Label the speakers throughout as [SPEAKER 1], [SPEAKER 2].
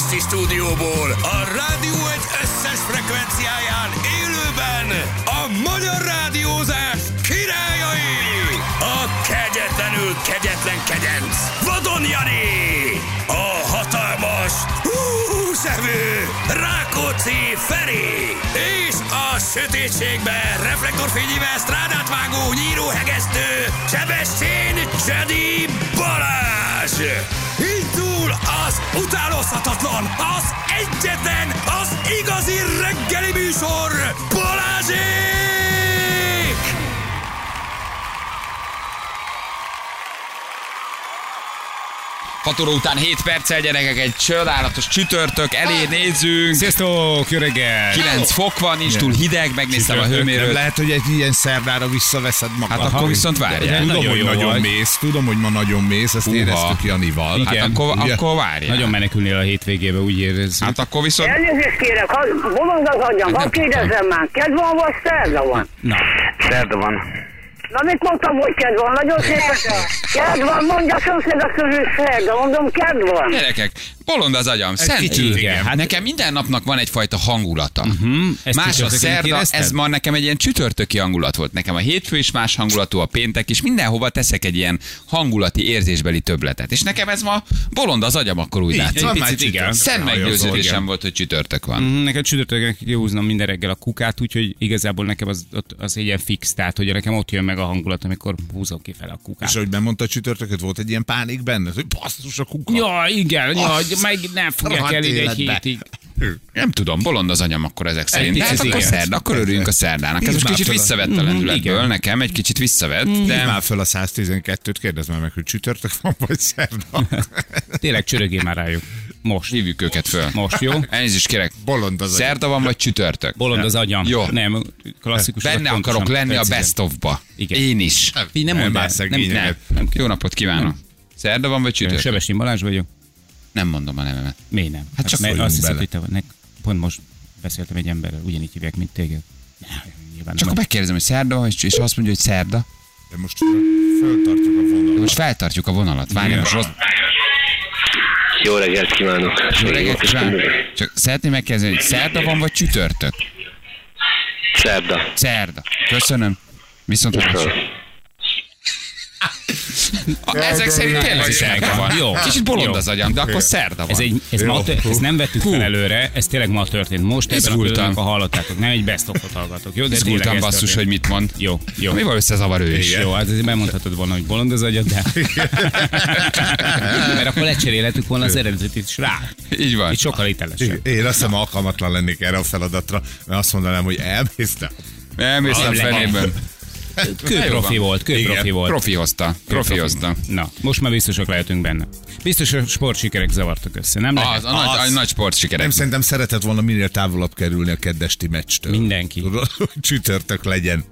[SPEAKER 1] stúdióból a Rádió egy összes frekvenciáján élőben a magyar rádiózás királyai! A kegyetlenül kegyetlen kegyenc, Vadon Jani! A hatalmas, húsevő, Rákóczi Feri! És a sötétségben reflektorfényével strádát vágó nyíróhegesztő Sebestyén Jedi Balázs! Indul az utánozhatatlan, az egyetlen, az igazi reggeli műsor Balázsék!
[SPEAKER 2] Hat óra után 7 perccel, gyerekek, egy csodálatos csütörtök, elé nézzünk.
[SPEAKER 3] Sziasztok, jó reggel!
[SPEAKER 2] 9 fok van, nincs túl hideg, megnéztem a
[SPEAKER 3] Csütörtök, nem
[SPEAKER 2] hőmérőt.
[SPEAKER 3] Lehet, hogy egy ilyen szerdára visszaveszed magad.
[SPEAKER 2] Hát akkor viszont várjál.
[SPEAKER 3] Ugye,
[SPEAKER 4] Tudom,
[SPEAKER 3] Nagyon
[SPEAKER 4] hogy
[SPEAKER 3] jó
[SPEAKER 4] nagyon
[SPEAKER 3] vagy.
[SPEAKER 4] mész, tudom, hogy ma nagyon mész, ezt
[SPEAKER 2] Húha.
[SPEAKER 4] éreztük Janival.
[SPEAKER 2] Hát akkor,
[SPEAKER 4] Ugye?
[SPEAKER 2] akkor várjál.
[SPEAKER 3] Nagyon menekülnél a hétvégébe, úgy érezzük.
[SPEAKER 2] Hát akkor viszont...
[SPEAKER 5] Elnézést kérek, ha bolond az agyam, ha
[SPEAKER 2] Nem tudtam.
[SPEAKER 5] kérdezem már, kedv van, vagy szerda van?
[SPEAKER 3] Na,
[SPEAKER 6] Szerda van.
[SPEAKER 5] Na, mit mondtam, hogy kedv van? Nagyon szépen. Kedv van, mondja a szomszédok közül szerda, mondom, kedv van.
[SPEAKER 2] Gyerekek, bolond az agyam, szent
[SPEAKER 3] kicsit, igen.
[SPEAKER 2] Hát nekem minden napnak van egyfajta hangulata.
[SPEAKER 3] ezt
[SPEAKER 2] Más a
[SPEAKER 3] csütörtökön
[SPEAKER 2] szerda,
[SPEAKER 3] érezted?
[SPEAKER 2] ez ma nekem egy ilyen csütörtöki hangulat volt. Nekem a hétfő is más hangulatú, a péntek is, mindenhova teszek egy ilyen hangulati érzésbeli töbletet. És nekem ez ma bolond az agyam, akkor úgy
[SPEAKER 3] Így,
[SPEAKER 2] látszik.
[SPEAKER 3] van hát már csütörtök. Hajozol,
[SPEAKER 2] Szemmeggyőződésem
[SPEAKER 3] igen.
[SPEAKER 2] volt, hogy csütörtök van.
[SPEAKER 3] Mhm, nekem csütörtökön ki kell húznom minden reggel a kukát, úgyhogy igazából nekem az, ott- az egy ilyen fix, tehát hogy nekem ott jön meg a hangulat, amikor húzom ki fel a
[SPEAKER 4] És
[SPEAKER 3] kukát.
[SPEAKER 4] ahogy bemondta a csütörtököt, volt egy ilyen pánik benned, hogy basszus a kuka.
[SPEAKER 3] Ja, igen, ja,
[SPEAKER 4] Azt
[SPEAKER 3] meg nem fogják
[SPEAKER 4] rohadt
[SPEAKER 3] el ide egy
[SPEAKER 4] életbe.
[SPEAKER 3] hétig.
[SPEAKER 2] Nem tudom, bolond az anyam akkor ezek szerint. De
[SPEAKER 3] picit
[SPEAKER 2] hát akkor
[SPEAKER 3] igen.
[SPEAKER 2] szerda, akkor örüljünk a szerdának. Ez most
[SPEAKER 4] már
[SPEAKER 2] kicsit
[SPEAKER 4] fel a-
[SPEAKER 2] visszavett a lendületből,
[SPEAKER 3] igen.
[SPEAKER 2] nekem egy kicsit visszavett,
[SPEAKER 4] Nem.
[SPEAKER 2] de
[SPEAKER 4] Már föl a 112-t, kérdezd már meg, hogy csütörtök van, vagy szerda.
[SPEAKER 3] Tényleg csörögjél már rájuk. Most.
[SPEAKER 2] hívjuk őket föl.
[SPEAKER 3] Most, jó?
[SPEAKER 2] Elnézést kérek.
[SPEAKER 4] Bolond az agyam.
[SPEAKER 2] Szerda van vagy csütörtök?
[SPEAKER 3] Bolond az agyam.
[SPEAKER 2] Jó.
[SPEAKER 3] Nem, klasszikus.
[SPEAKER 2] Benne akarok lenni a best ofba.
[SPEAKER 3] Igen.
[SPEAKER 2] Én is.
[SPEAKER 3] Így nem
[SPEAKER 4] Nem
[SPEAKER 3] mondd el.
[SPEAKER 4] már
[SPEAKER 3] Nem,
[SPEAKER 4] szegényeket.
[SPEAKER 3] nem, nem.
[SPEAKER 2] Jó napot kívánok. Szerda van vagy csütörtök?
[SPEAKER 3] Sebesi Balázs vagyok.
[SPEAKER 2] Nem mondom a nevemet.
[SPEAKER 3] Miért nem? Hát
[SPEAKER 4] csak
[SPEAKER 3] mert
[SPEAKER 4] szóljunk
[SPEAKER 3] azt hiszed,
[SPEAKER 4] bele.
[SPEAKER 3] hogy te vagy. Ne, pont most beszéltem egy emberrel, ugyanígy hívják, mint téged. Nem, Nyilván
[SPEAKER 2] Csak
[SPEAKER 3] nem.
[SPEAKER 2] akkor megkérdezem, hogy szerda van, és és azt mondja, hogy szerda.
[SPEAKER 4] De most föltartok a
[SPEAKER 2] De
[SPEAKER 4] vonalat.
[SPEAKER 2] most feltartjuk a vonalat. Várjál, most rossz.
[SPEAKER 6] Jó reggelt kívánok.
[SPEAKER 2] Jó reggelt kívánok. Csak szeretném megkérdezni, hogy szerda van vagy csütörtök?
[SPEAKER 6] Szerda.
[SPEAKER 2] Szerda. Köszönöm. Viszont hallásra. A- Ezek szerint tényleg is szerda van.
[SPEAKER 3] Jó.
[SPEAKER 2] Kicsit bolond
[SPEAKER 3] Jó.
[SPEAKER 2] az agyam, de akkor szerda van.
[SPEAKER 3] Ez, egy, ez, ma, tör- ezt nem vettük fel előre, ez tényleg ma történt. Most ebben a
[SPEAKER 2] Izgultam.
[SPEAKER 3] pillanatban, ha hallottátok, nem egy best of hallgatok, jó? De tényleg
[SPEAKER 2] Izgultam
[SPEAKER 3] ez
[SPEAKER 2] basszus, hogy
[SPEAKER 3] történt.
[SPEAKER 2] mit mond.
[SPEAKER 3] Jó, jó.
[SPEAKER 2] Mi van összezavar ő is?
[SPEAKER 3] És jó, hát azért bemondhatod volna, hogy bolond az agyad, de... Mert akkor lecserélhetük volna az eredetit is rá.
[SPEAKER 2] Így van.
[SPEAKER 3] Itt sokkal hitelesebb.
[SPEAKER 4] Én azt hiszem alkalmatlan lennék erre a feladatra, mert azt mondanám, hogy elmész te.
[SPEAKER 2] Elmész a fenében.
[SPEAKER 3] Kőprofi
[SPEAKER 2] van.
[SPEAKER 3] volt, kőprofi
[SPEAKER 4] Igen,
[SPEAKER 3] volt.
[SPEAKER 2] Profi hozta. Profi hozta.
[SPEAKER 3] Na, most már biztosak lehetünk benne. Biztos a sportsikerek zavartak össze, nem lehet?
[SPEAKER 2] Az, a, nagy, a nagy sportsikerek.
[SPEAKER 4] Nem szerintem szeretett volna minél távolabb kerülni a keddesti meccstől.
[SPEAKER 3] Mindenki.
[SPEAKER 4] Tudod, hogy csütörtök legyen.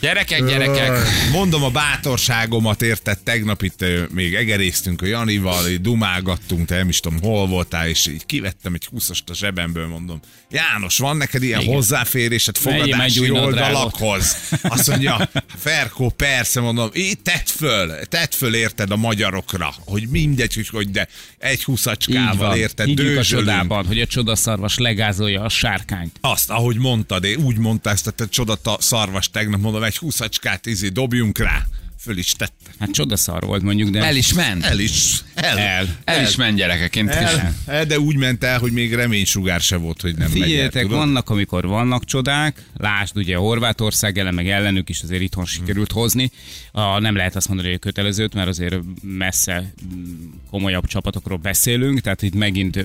[SPEAKER 2] Gyerekek, gyerekek.
[SPEAKER 4] Mondom a bátorságomat, érted? Tegnap itt ö, még egerésztünk a Janival, így dumágattunk, te nem is tudom, hol voltál, és így kivettem egy 20-ast a zsebemből, mondom. János, van neked ilyen
[SPEAKER 3] Igen.
[SPEAKER 4] Igen. hozzáférésed
[SPEAKER 3] Vegyem egy új
[SPEAKER 4] fogadási
[SPEAKER 3] nadrágot.
[SPEAKER 4] oldalakhoz? Azt mondja, Ferkó, persze, mondom, így tedd föl, tedd föl, érted a magyarokra, hogy mindegy, hogy- hogy de egy
[SPEAKER 3] Így
[SPEAKER 4] huszacskával,
[SPEAKER 3] van.
[SPEAKER 4] érted,
[SPEAKER 3] Higgyük a
[SPEAKER 4] dőzsölünk.
[SPEAKER 3] csodában, hogy a csodaszarvas legázolja a sárkányt.
[SPEAKER 4] Azt, ahogy mondtad, én úgy mondta ezt a te csodata szarvas tegnap, mondom, egy húszacskát izé, dobjunk rá. Föl is tette.
[SPEAKER 3] Hát csodaszar volt mondjuk, de...
[SPEAKER 2] El is ment.
[SPEAKER 4] El is. El.
[SPEAKER 3] El.
[SPEAKER 2] El is ment gyerekek. Én
[SPEAKER 4] El, el, de úgy ment el, hogy még reménysugár se volt, hogy nem megy el,
[SPEAKER 3] Figyeljetek,
[SPEAKER 4] tudod?
[SPEAKER 3] vannak, amikor vannak csodák, lásd ugye Horvátország ellen, meg ellenük is azért itthon
[SPEAKER 4] Mhm.
[SPEAKER 3] sikerült hozni. A, nem lehet azt mondani, hogy kötelezőt, mert azért messze mm, komolyabb csapatokról beszélünk, tehát itt megint ö,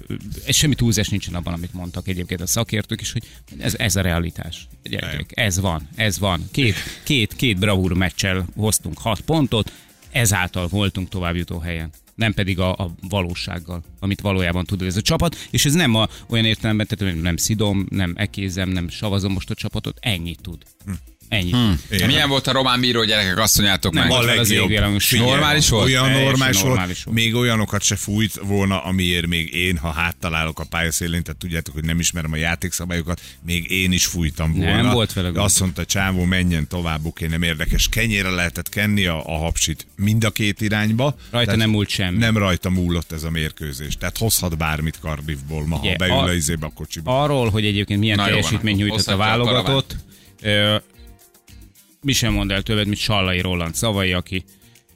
[SPEAKER 3] és semmi túlzás nincsen abban, amit mondtak egyébként a szakértők is, hogy ez, ez a realitás. Gyerekek, ez van, ez van. Két, két, két bravúr meccsel hoztunk hat pontot, ezáltal voltunk továbbjutó helyen nem pedig a, a valósággal, amit valójában tud ez a csapat, és ez nem a, olyan értelemben, tehát nem szidom, nem ekézem, nem savazom most a csapatot, ennyit tud. Ennyi. Hmm.
[SPEAKER 4] Igen.
[SPEAKER 2] Milyen volt a román bíró gyerekek, asszonyátok meg?
[SPEAKER 4] a
[SPEAKER 3] volt vele az
[SPEAKER 4] legjobb.
[SPEAKER 3] égvilágon semmi.
[SPEAKER 4] Figyelj,
[SPEAKER 2] Normális volt?
[SPEAKER 4] Olyan
[SPEAKER 3] Teljesen
[SPEAKER 4] normális volt.
[SPEAKER 3] normális volt.
[SPEAKER 4] Még olyanokat se fújt volna, amiért még én, ha háttalálok a pályaszélén, tehát tudjátok, hogy nem ismerem a játékszabályokat, még én is fújtam volna.
[SPEAKER 3] Nem volt vele gond.
[SPEAKER 4] Azt mondta, csávó, menjen tovább, oké, nem érdekes. Kenyére lehetett kenni a, a hapsit mind a két irányba.
[SPEAKER 3] Rajta nem múlt semmi.
[SPEAKER 4] Nem rajta múlott ez a mérkőzés. Tehát hozhat bármit Cardiffból, ma, ha
[SPEAKER 3] Ugye,
[SPEAKER 4] beül
[SPEAKER 3] a-
[SPEAKER 4] a izébe a kocsiba.
[SPEAKER 3] Arról, hogy egyébként milyen
[SPEAKER 2] Na jó van,
[SPEAKER 3] teljesítményt
[SPEAKER 2] akkor
[SPEAKER 3] nyújtott a
[SPEAKER 2] hozhatja a
[SPEAKER 3] válogatott, ö, mi sem mond el többet, mint Sallai Roland szavai, aki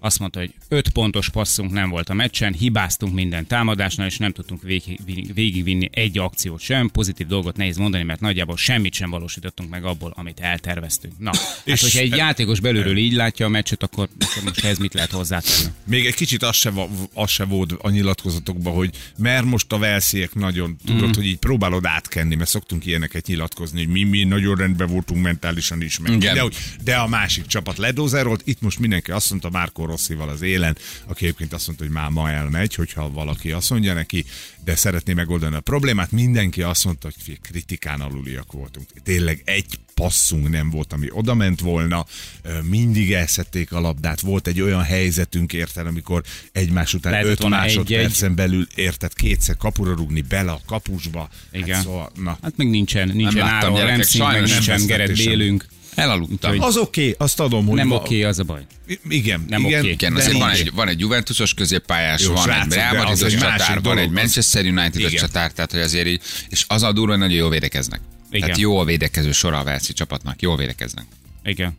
[SPEAKER 3] azt mondta, hogy 5 pontos passzunk nem volt a meccsen, hibáztunk minden támadásnál, és nem tudtunk végig- vin- végigvinni egy akciót sem. Pozitív dolgot nehéz mondani, mert nagyjából semmit sem valósítottunk meg abból, amit elterveztünk. Na, hát,
[SPEAKER 4] És-
[SPEAKER 3] hogyha
[SPEAKER 2] e-
[SPEAKER 3] egy játékos belülről így látja a meccset, akkor akkor most ez mit lehet hozzátenni?
[SPEAKER 4] Még egy kicsit az se, va- az se volt a nyilatkozatokban, hogy mert most a velsziek nagyon, tudod, mm. hogy így próbálod átkenni, mert szoktunk ilyeneket nyilatkozni, hogy mi, mi nagyon rendben voltunk mentálisan is, meg
[SPEAKER 2] Igen.
[SPEAKER 4] de, hogy- de a másik csapat ledózerolt, itt most mindenki azt mondta Márko Rosszival az élen, aki egyébként azt mondta, hogy már ma elmegy, hogyha valaki azt mondja neki, de szeretné megoldani a problémát, mindenki azt mondta, hogy fi, kritikán aluliak voltunk. Tényleg egy passzunk nem volt, ami odament volna, Ö, mindig elszették a labdát, volt egy olyan helyzetünk érted, amikor egymás után
[SPEAKER 3] Lehetett
[SPEAKER 4] öt
[SPEAKER 3] volna
[SPEAKER 4] másodpercen belül érted, kétszer kapura rugni bele a kapusba.
[SPEAKER 3] Igen.
[SPEAKER 4] Hát szóval, na.
[SPEAKER 3] Hát meg nincsen, nincsen
[SPEAKER 2] láttam,
[SPEAKER 3] Áron
[SPEAKER 2] gyerekek,
[SPEAKER 3] Remszink, meg
[SPEAKER 2] sajnos nem
[SPEAKER 3] nincsen
[SPEAKER 4] vesztett
[SPEAKER 3] Gerett
[SPEAKER 4] is sem.
[SPEAKER 3] Bélünk.
[SPEAKER 2] Elaludtam.
[SPEAKER 3] Úgyhogy-
[SPEAKER 4] Az oké, okay, azt adom, hogy
[SPEAKER 3] Nem
[SPEAKER 4] ma-
[SPEAKER 3] oké, az a baj.
[SPEAKER 4] I- Igen,
[SPEAKER 3] Nem
[SPEAKER 4] igen,
[SPEAKER 3] oké.
[SPEAKER 2] Igen,
[SPEAKER 4] de
[SPEAKER 2] azért van
[SPEAKER 4] nincs.
[SPEAKER 2] egy, van egy Juventusos középpályás,
[SPEAKER 4] Jó,
[SPEAKER 2] van
[SPEAKER 4] srácok,
[SPEAKER 2] egy
[SPEAKER 4] de
[SPEAKER 2] Real
[SPEAKER 4] az
[SPEAKER 2] Madridos
[SPEAKER 4] egy másik
[SPEAKER 2] csatár, van
[SPEAKER 4] dolog,
[SPEAKER 2] egy
[SPEAKER 4] az-
[SPEAKER 2] Manchester United-os
[SPEAKER 4] Igen.
[SPEAKER 2] csatár, tehát hogy azért így, és az a durva, hogy nagyon jól védekeznek.
[SPEAKER 3] Igen.
[SPEAKER 2] Tehát jó a védekező sora a Velszi csapatnak, jól védekeznek.
[SPEAKER 3] Igen.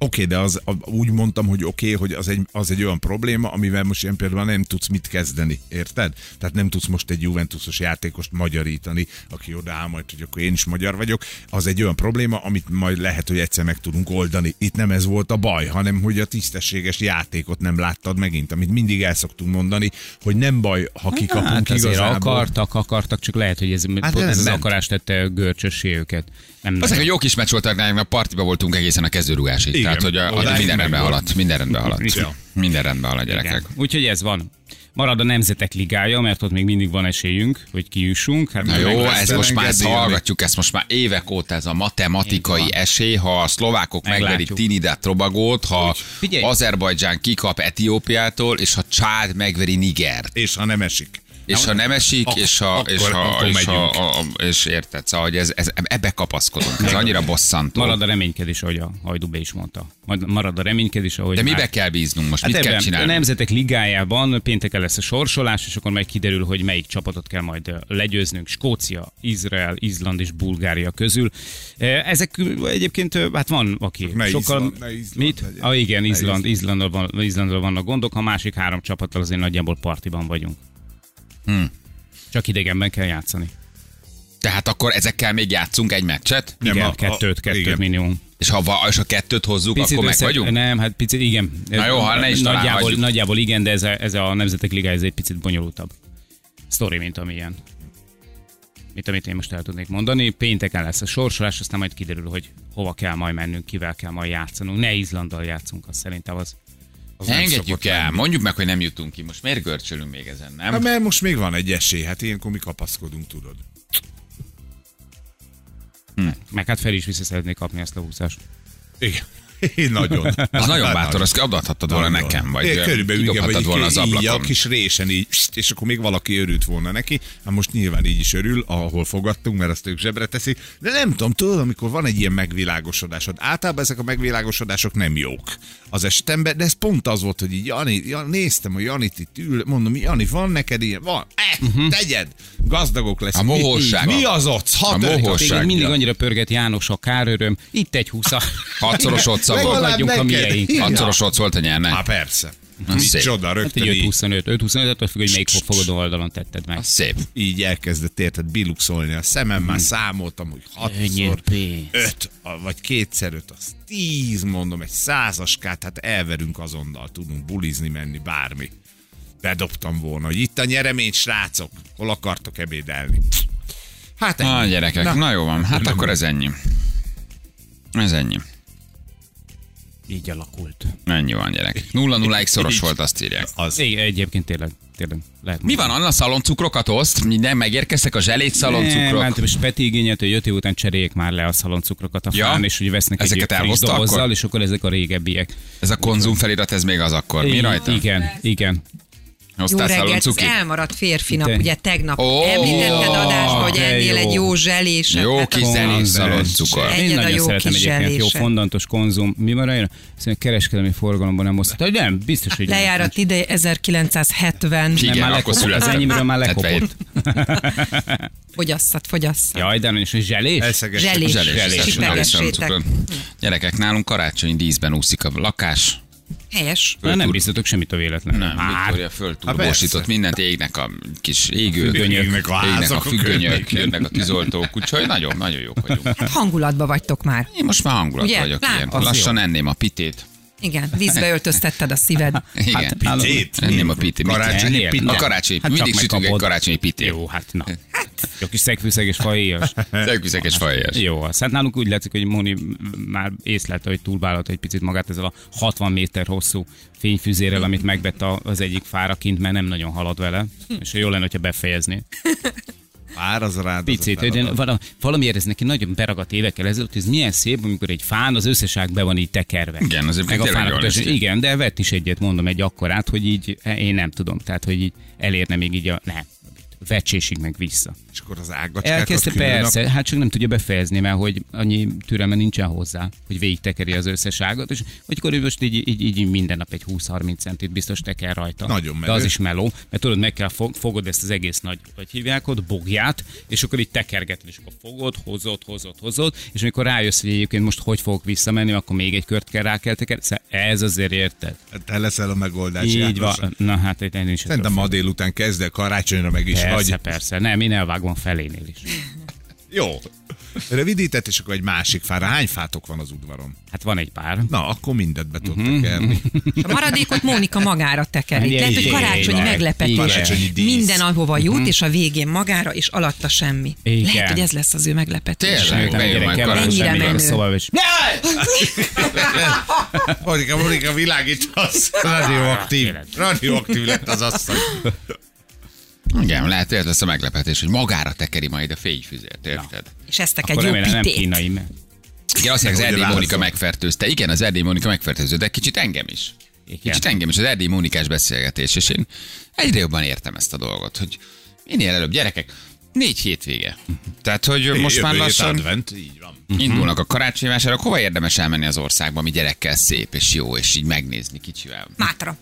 [SPEAKER 4] Oké, de az, a- úgy mondtam, hogy oké, hogy az egy, az egy olyan probléma, amivel most ilyen például nem tudsz mit kezdeni, érted? Tehát nem tudsz most egy Juventusos játékost magyarítani, aki odaáll majd, hogy akkor én is magyar vagyok. Az egy olyan probléma, amit majd lehet, hogy egyszer meg tudunk oldani. Itt nem ez volt a baj, hanem hogy a tisztességes játékot nem láttad megint, amit mindig el szoktunk mondani, hogy nem baj, ha kikapunk
[SPEAKER 3] Hát azért
[SPEAKER 4] igazából.
[SPEAKER 3] akartak, akartak, csak lehet, hogy ez,
[SPEAKER 4] Hát
[SPEAKER 3] hát
[SPEAKER 4] de
[SPEAKER 3] ez
[SPEAKER 4] nem
[SPEAKER 3] az
[SPEAKER 4] ment.
[SPEAKER 3] akarás tette görcsössé őket. Nem,
[SPEAKER 2] Azt
[SPEAKER 3] nem.
[SPEAKER 2] egy jó kis meccs volt, mert a partiba voltunk egészen a kezdőrugásig.
[SPEAKER 4] Igen.
[SPEAKER 2] Tehát, hogy a,
[SPEAKER 4] Odáig
[SPEAKER 2] a minden
[SPEAKER 4] meg
[SPEAKER 2] rendben
[SPEAKER 4] volt.
[SPEAKER 2] haladt, minden rendben
[SPEAKER 4] Ja.
[SPEAKER 2] haladt. Minden rendben haladt,
[SPEAKER 3] Igen.
[SPEAKER 2] gyerekek.
[SPEAKER 3] Úgyhogy ez van. Marad a Nemzetek Ligája, mert ott még mindig van esélyünk, hogy kijussunk. Hát
[SPEAKER 2] Na
[SPEAKER 3] meg
[SPEAKER 2] jó,
[SPEAKER 3] lesz-
[SPEAKER 2] ezt most már ezt
[SPEAKER 4] engedélyezni.
[SPEAKER 2] hallgatjuk, ezt most már évek óta ez a
[SPEAKER 3] Így
[SPEAKER 2] matematikai
[SPEAKER 3] van.
[SPEAKER 2] esély, ha a szlovákok
[SPEAKER 3] Meglátjuk.
[SPEAKER 2] megverik Trinidad Tobagót, ha
[SPEAKER 3] Figyelj.
[SPEAKER 2] Azerbajdzsán kikap Etiópiától, és ha Csád megveri Nigert.
[SPEAKER 4] És ha nem esik.
[SPEAKER 2] És ha nem esik,
[SPEAKER 4] Ak-
[SPEAKER 2] és ha,
[SPEAKER 4] akkor-
[SPEAKER 2] és ha,
[SPEAKER 4] akkor
[SPEAKER 2] és, ha
[SPEAKER 4] megyünk.
[SPEAKER 2] a, a, és érted, szóval, hogy ez, ez, ebbe kapaszkodunk, ez annyira bosszantó.
[SPEAKER 3] Marad a reménykedés, ahogy a Hajdú be is mondta. Majd Marad a reménykedés, ahogy
[SPEAKER 2] De
[SPEAKER 3] már-
[SPEAKER 2] mibe kell bíznunk most,
[SPEAKER 3] Hát
[SPEAKER 2] mit kell
[SPEAKER 3] ebben a
[SPEAKER 2] csinálni?
[SPEAKER 3] Nemzetek Ligájában pénteken lesz a sorsolás, és akkor majd kiderül, hogy melyik csapatot kell majd ö, legyőznünk. Skócia, Izrael, Izland és Bulgária közül. Ö, Ezek ö, egyébként, ö, hát van, aki
[SPEAKER 4] Ne
[SPEAKER 3] sokkal...
[SPEAKER 4] Izland, ne Izland
[SPEAKER 3] Mit?
[SPEAKER 4] legyen.
[SPEAKER 3] Ah, igen,
[SPEAKER 4] Ne Izland.
[SPEAKER 3] Izland, Izlandról, van, Izlandról vannak gondok, a másik három csapattal azért nagyjából partiban vagyunk. Hmm.
[SPEAKER 4] Hm.
[SPEAKER 3] Csak idegenben kell játszani.
[SPEAKER 2] Tehát akkor ezekkel még játszunk egy meccset,
[SPEAKER 4] Nem,
[SPEAKER 3] Igen,
[SPEAKER 4] a- a-
[SPEAKER 3] kettőt, kettőt
[SPEAKER 4] igen.
[SPEAKER 3] minimum.
[SPEAKER 2] és ha, va- és ha kettőt hozzuk, akkor meg
[SPEAKER 3] össze-
[SPEAKER 2] vagyunk?
[SPEAKER 3] Nem, hát picit, igen.
[SPEAKER 2] Na jó, ha ne is
[SPEAKER 3] nagyjából,
[SPEAKER 2] találhatjuk.
[SPEAKER 3] nagyjából igen, de ez a, ez a Nemzetek Liga ez egy picit bonyolultabb sztori, mint amilyen. Mint amit én most el tudnék mondani. Pénteken lesz a sorsolás, aztán majd kiderül, hogy hova kell majd mennünk, kivel kell majd játszanunk. Ne Izlanddal játszunk, azt szerintem az.
[SPEAKER 4] Az nem szokott
[SPEAKER 2] Engedjük el,
[SPEAKER 4] lenni.
[SPEAKER 2] mondjuk meg, hogy nem jutunk ki. Most miért görcsölünk még ezen, nem?
[SPEAKER 4] Hát mert most még van egy esély, hát ilyenkor mi kapaszkodunk, tudod.
[SPEAKER 3] Meg hát fel is vissza szeretnék kapni ezt a húzást.
[SPEAKER 4] Igen. Nagyon.
[SPEAKER 2] Az nagyon bátor, azt adhattad volna
[SPEAKER 4] Hát, Nagyon.
[SPEAKER 2] nekem, vagy
[SPEAKER 4] É,
[SPEAKER 2] ö,
[SPEAKER 4] körülbelül igen, vagy
[SPEAKER 2] kidobhattad
[SPEAKER 4] így,
[SPEAKER 2] volna az
[SPEAKER 4] így a
[SPEAKER 2] ablakon.
[SPEAKER 4] kis résen így, pst, és akkor még valaki örült volna neki. Hát most nyilván így is örül, ahol fogadtunk, mert azt ők zsebre teszik. De nem tudom, tudod, amikor van egy ilyen megvilágosodásod. Általában ezek a megvilágosodások nem jók az esetemben, de ez pont az volt, hogy így Jani, Jani néztem, hogy Janit itt ül, mondom, Jani, van neked ilyen? Van. Eh, uh-huh. tegyed! Gazdagok leszünk.
[SPEAKER 2] Mhm. A mohóság.
[SPEAKER 4] Mi, mi az ott?
[SPEAKER 2] A
[SPEAKER 4] Hat
[SPEAKER 2] mohóság.
[SPEAKER 3] Téged mindig
[SPEAKER 2] Ja.
[SPEAKER 3] annyira pörget János a káröröm, itt egy húsza.
[SPEAKER 2] Hatszoros ott
[SPEAKER 4] Legalább
[SPEAKER 2] szabad.
[SPEAKER 3] Fogadjunk a
[SPEAKER 4] neked.
[SPEAKER 3] miénk.
[SPEAKER 4] Igen.
[SPEAKER 2] Hatszoros ott volt a nyelnek.
[SPEAKER 4] Hát persze.
[SPEAKER 2] szép.
[SPEAKER 4] Micsoda,
[SPEAKER 3] Hát
[SPEAKER 4] rögtön
[SPEAKER 3] egy
[SPEAKER 4] így,
[SPEAKER 3] 5-25, 5-25, attól függ, hogy melyik fogadó oldalon tetted meg.
[SPEAKER 2] Az Szép.
[SPEAKER 4] így elkezdett érted biluxolni a szemem,
[SPEAKER 3] Mhm.
[SPEAKER 4] már számoltam, hogy hatszor,
[SPEAKER 3] pénz.
[SPEAKER 4] öt, a- vagy kétszer öt, az tíz, mondom, egy százaskát, hát elverünk azonnal, tudunk bulizni menni, bármi. Bedobtam volna, hogy itt a nyeremény, srácok, hol akartok ebédelni. Hát ennyi.
[SPEAKER 2] Na, gyerekek, na jó van, hát akkor ez ennyi. Ez ennyi.
[SPEAKER 3] így alakult.
[SPEAKER 2] Ennyi van, gyerek. Nulla nulláig szoros volt, azt írják.
[SPEAKER 4] Az.
[SPEAKER 3] Igen, egyébként tényleg, tényleg lehet
[SPEAKER 2] Mi van, Anna szaloncukrokat oszt? Minden megérkeztek a zselét
[SPEAKER 3] Nem,
[SPEAKER 2] szaloncukrok.
[SPEAKER 3] hát most Peti igényelt, hogy 5 év után cseréljék már le a szaloncukrokat a
[SPEAKER 2] Ja?
[SPEAKER 3] fán, és úgy vesznek
[SPEAKER 2] Ezeket
[SPEAKER 3] egy friss
[SPEAKER 2] elhozta
[SPEAKER 3] dobozzal,
[SPEAKER 2] akkor?
[SPEAKER 3] és akkor ezek a régebbiek.
[SPEAKER 2] Ez a konzum felirat, ez még az akkor. Mi
[SPEAKER 3] I-
[SPEAKER 2] rajta?
[SPEAKER 3] Igen, igen.
[SPEAKER 7] Jó
[SPEAKER 2] Hoztál
[SPEAKER 7] reggelt, az
[SPEAKER 2] szaloncuki?
[SPEAKER 7] elmaradt férfinap,
[SPEAKER 3] Te-
[SPEAKER 7] ugye tegnap
[SPEAKER 2] Ó,
[SPEAKER 7] említetted adásban, hogy
[SPEAKER 3] de
[SPEAKER 7] ennél
[SPEAKER 3] jó.
[SPEAKER 7] egy jó zseléset.
[SPEAKER 2] Jó
[SPEAKER 7] hát
[SPEAKER 2] kis
[SPEAKER 7] akkor-
[SPEAKER 2] zenés
[SPEAKER 7] Egy-
[SPEAKER 2] szaloncukor.
[SPEAKER 3] Én
[SPEAKER 7] Egyed a
[SPEAKER 3] nagyon
[SPEAKER 7] jó
[SPEAKER 3] szeretem
[SPEAKER 7] kis
[SPEAKER 3] egyébként, jó
[SPEAKER 7] zselése.
[SPEAKER 3] fondantos konzum. Mi van rajta? Szerintem kereskedelmi forgalomban nem osztott. De nem, biztos, hogy nem.
[SPEAKER 7] Lejárat ideje 1970.
[SPEAKER 2] Igen,
[SPEAKER 3] már
[SPEAKER 2] akkor
[SPEAKER 3] lekopott.
[SPEAKER 2] született.
[SPEAKER 3] Az enyémről már lekopott.
[SPEAKER 2] 77.
[SPEAKER 7] Fogyasszat, fogyasszat.
[SPEAKER 3] Jaj, de nem is, hogy zselés?
[SPEAKER 4] Elszeges.
[SPEAKER 7] Zselés.
[SPEAKER 2] Zselés,
[SPEAKER 7] Zselés.
[SPEAKER 2] zselés, zselés
[SPEAKER 7] Csipegessétek.
[SPEAKER 2] szaloncukron. Gyerekek, nálunk karácsonyi díszben úszik a lakás.
[SPEAKER 7] Helyes.
[SPEAKER 3] Na, nem
[SPEAKER 2] Föltur-
[SPEAKER 3] biztatok semmit a véletlen.
[SPEAKER 2] Nem, Viktória
[SPEAKER 4] Há,
[SPEAKER 2] fölturbósított
[SPEAKER 4] persze.
[SPEAKER 2] mindent, égnek a kis égők,
[SPEAKER 4] Függönyök.
[SPEAKER 2] égnek a, égnek a
[SPEAKER 4] házak, a
[SPEAKER 2] függönyök,
[SPEAKER 4] környéken.
[SPEAKER 2] jönnek a tűzoltók, úgyhogy nagyon, nagyon jók vagyunk.
[SPEAKER 7] Hát hangulatba vagytok már.
[SPEAKER 2] Én most már hangulat
[SPEAKER 7] Ugye?
[SPEAKER 2] vagyok,
[SPEAKER 7] Lát,
[SPEAKER 2] igen.
[SPEAKER 7] az
[SPEAKER 2] Lassan enném a pitét.
[SPEAKER 7] Igen, vízbe öltöztetted a szíved.
[SPEAKER 2] Igen.
[SPEAKER 3] Hát,
[SPEAKER 4] pitét?
[SPEAKER 2] Enném a pitét. Mit-
[SPEAKER 4] Karácsonyi
[SPEAKER 2] Ennél?
[SPEAKER 4] pitét?
[SPEAKER 2] A karácsonyi.
[SPEAKER 3] Hát
[SPEAKER 2] Mindig
[SPEAKER 3] csak
[SPEAKER 2] sütünk egy
[SPEAKER 3] megkapod.
[SPEAKER 2] karácsonyi pitét.
[SPEAKER 3] Jó, hát na. Jó kis szegfűszeges fahéjas.
[SPEAKER 2] Szegvizekes fajas.
[SPEAKER 3] Jó, az. hát nálunk úgy látszik, hogy Moni már észlelte, hogy túlvállalta egy picit magát ezzel a 60 méter hosszú fényfűzérrel, amit megvett a- az egyik fára kint, mert nem nagyon halad vele,
[SPEAKER 2] Hm.
[SPEAKER 3] és jó lenne, hogyha befejezni.
[SPEAKER 4] Pár az rád. az a
[SPEAKER 3] Picit,
[SPEAKER 4] feladat.
[SPEAKER 3] én vala- valamiért ez neki nagyon beragadt évekkel ezelőtt, hogy ez milyen szép, amikor egy fán az összeság be van így tekerve.
[SPEAKER 2] Igen, azért
[SPEAKER 3] Meg a
[SPEAKER 2] tényleg
[SPEAKER 3] fának
[SPEAKER 2] jól
[SPEAKER 3] utas-
[SPEAKER 2] néz ki.
[SPEAKER 3] Igen, de vett is egyet, mondom, egy akkorát, hogy így eh, én nem tudom, tehát hogy így elérne még így a... Ne, vecsésig meg vissza.
[SPEAKER 4] És akkor az ágacskákat
[SPEAKER 3] Elkezdte
[SPEAKER 4] külön
[SPEAKER 3] persze, hát csak nem tudja befejezni, mert hogy annyi türelme nincsen hozzá, hogy végig tekeri az összes ágat, és hogy akkor ő most így, így, így minden nap egy 20-30 centit biztos teker rajta.
[SPEAKER 4] Nagyon
[SPEAKER 3] De
[SPEAKER 4] menő.
[SPEAKER 3] az is meló, mert tudod, meg kell fog, fogod ezt az egész nagy, vagy hívják ott, bogját, és akkor így tekergeted, és akkor fogod, hozod, hozod, hozod, és amikor rájössz, hogy egyébként most hogy fogok visszamenni, akkor még egy kört kell rá kell tekerni. Szóval Ez azért érted.
[SPEAKER 4] a- Te leszel a megoldás.
[SPEAKER 3] Így
[SPEAKER 4] János.
[SPEAKER 3] van. Na hát, itt én is.
[SPEAKER 4] Szerintem ma délután kezd, de karácsonyra meg is
[SPEAKER 3] Persze,
[SPEAKER 4] hagy.
[SPEAKER 3] persze. Nem, én elvágom felénél is.
[SPEAKER 4] Jó. Rövidített, és akkor egy másik fára. Hány fátok van az udvaron?
[SPEAKER 3] Hát van egy pár.
[SPEAKER 4] Na, akkor mindet be
[SPEAKER 2] Mhm.
[SPEAKER 4] tudtak el.
[SPEAKER 7] A maradékot Mónika magára tekeri. Lehet, hogy karácsonyi
[SPEAKER 3] Igen.
[SPEAKER 7] meglepetés.
[SPEAKER 4] Karácsonyi dísz.
[SPEAKER 7] Minden ahova
[SPEAKER 2] Mhm.
[SPEAKER 7] jut, és a végén magára, és alatta semmi.
[SPEAKER 3] Igen.
[SPEAKER 7] Lehet, hogy ez lesz az ő meglepetés.
[SPEAKER 2] Tényleg?
[SPEAKER 3] Miután a
[SPEAKER 2] Bejön
[SPEAKER 3] gyerek
[SPEAKER 2] majd
[SPEAKER 3] elmegy,
[SPEAKER 7] karácsony.
[SPEAKER 3] bemegy a
[SPEAKER 7] Mennyire
[SPEAKER 3] szobába, és
[SPEAKER 4] Monika, Monika, világítasz. Radioaktív.
[SPEAKER 3] Ah,
[SPEAKER 4] Radioaktív lett az asszony.
[SPEAKER 2] Igen, lehet, hogy ez lesz a meglepetés, hogy magára tekeri majd a fényfüzért, érted?
[SPEAKER 7] És eztek egy
[SPEAKER 3] akkor
[SPEAKER 7] jó
[SPEAKER 3] remélem nem
[SPEAKER 7] pitét.
[SPEAKER 3] kínai, mert
[SPEAKER 2] Igen, azt mondják, az
[SPEAKER 4] Ugye
[SPEAKER 2] Erdély Mónika
[SPEAKER 4] válaszol.
[SPEAKER 2] megfertőzte. Igen, az Erdély Mónika megfertőző, de kicsit engem is.
[SPEAKER 3] Igen.
[SPEAKER 2] Kicsit engem is, az Erdély Mónikás beszélgetés, és én egyre jobban értem ezt a dolgot, hogy minél előbb gyerekek, négy hétvége. Tehát, hogy most már
[SPEAKER 4] Jövő hét
[SPEAKER 2] lassan
[SPEAKER 4] Advent, így van.
[SPEAKER 2] indulnak a karácsonyi vásárok, hova érdemes elmenni az országba, ami gyerekkel szép és jó, és így megnézni kicsivel.
[SPEAKER 7] Mátra.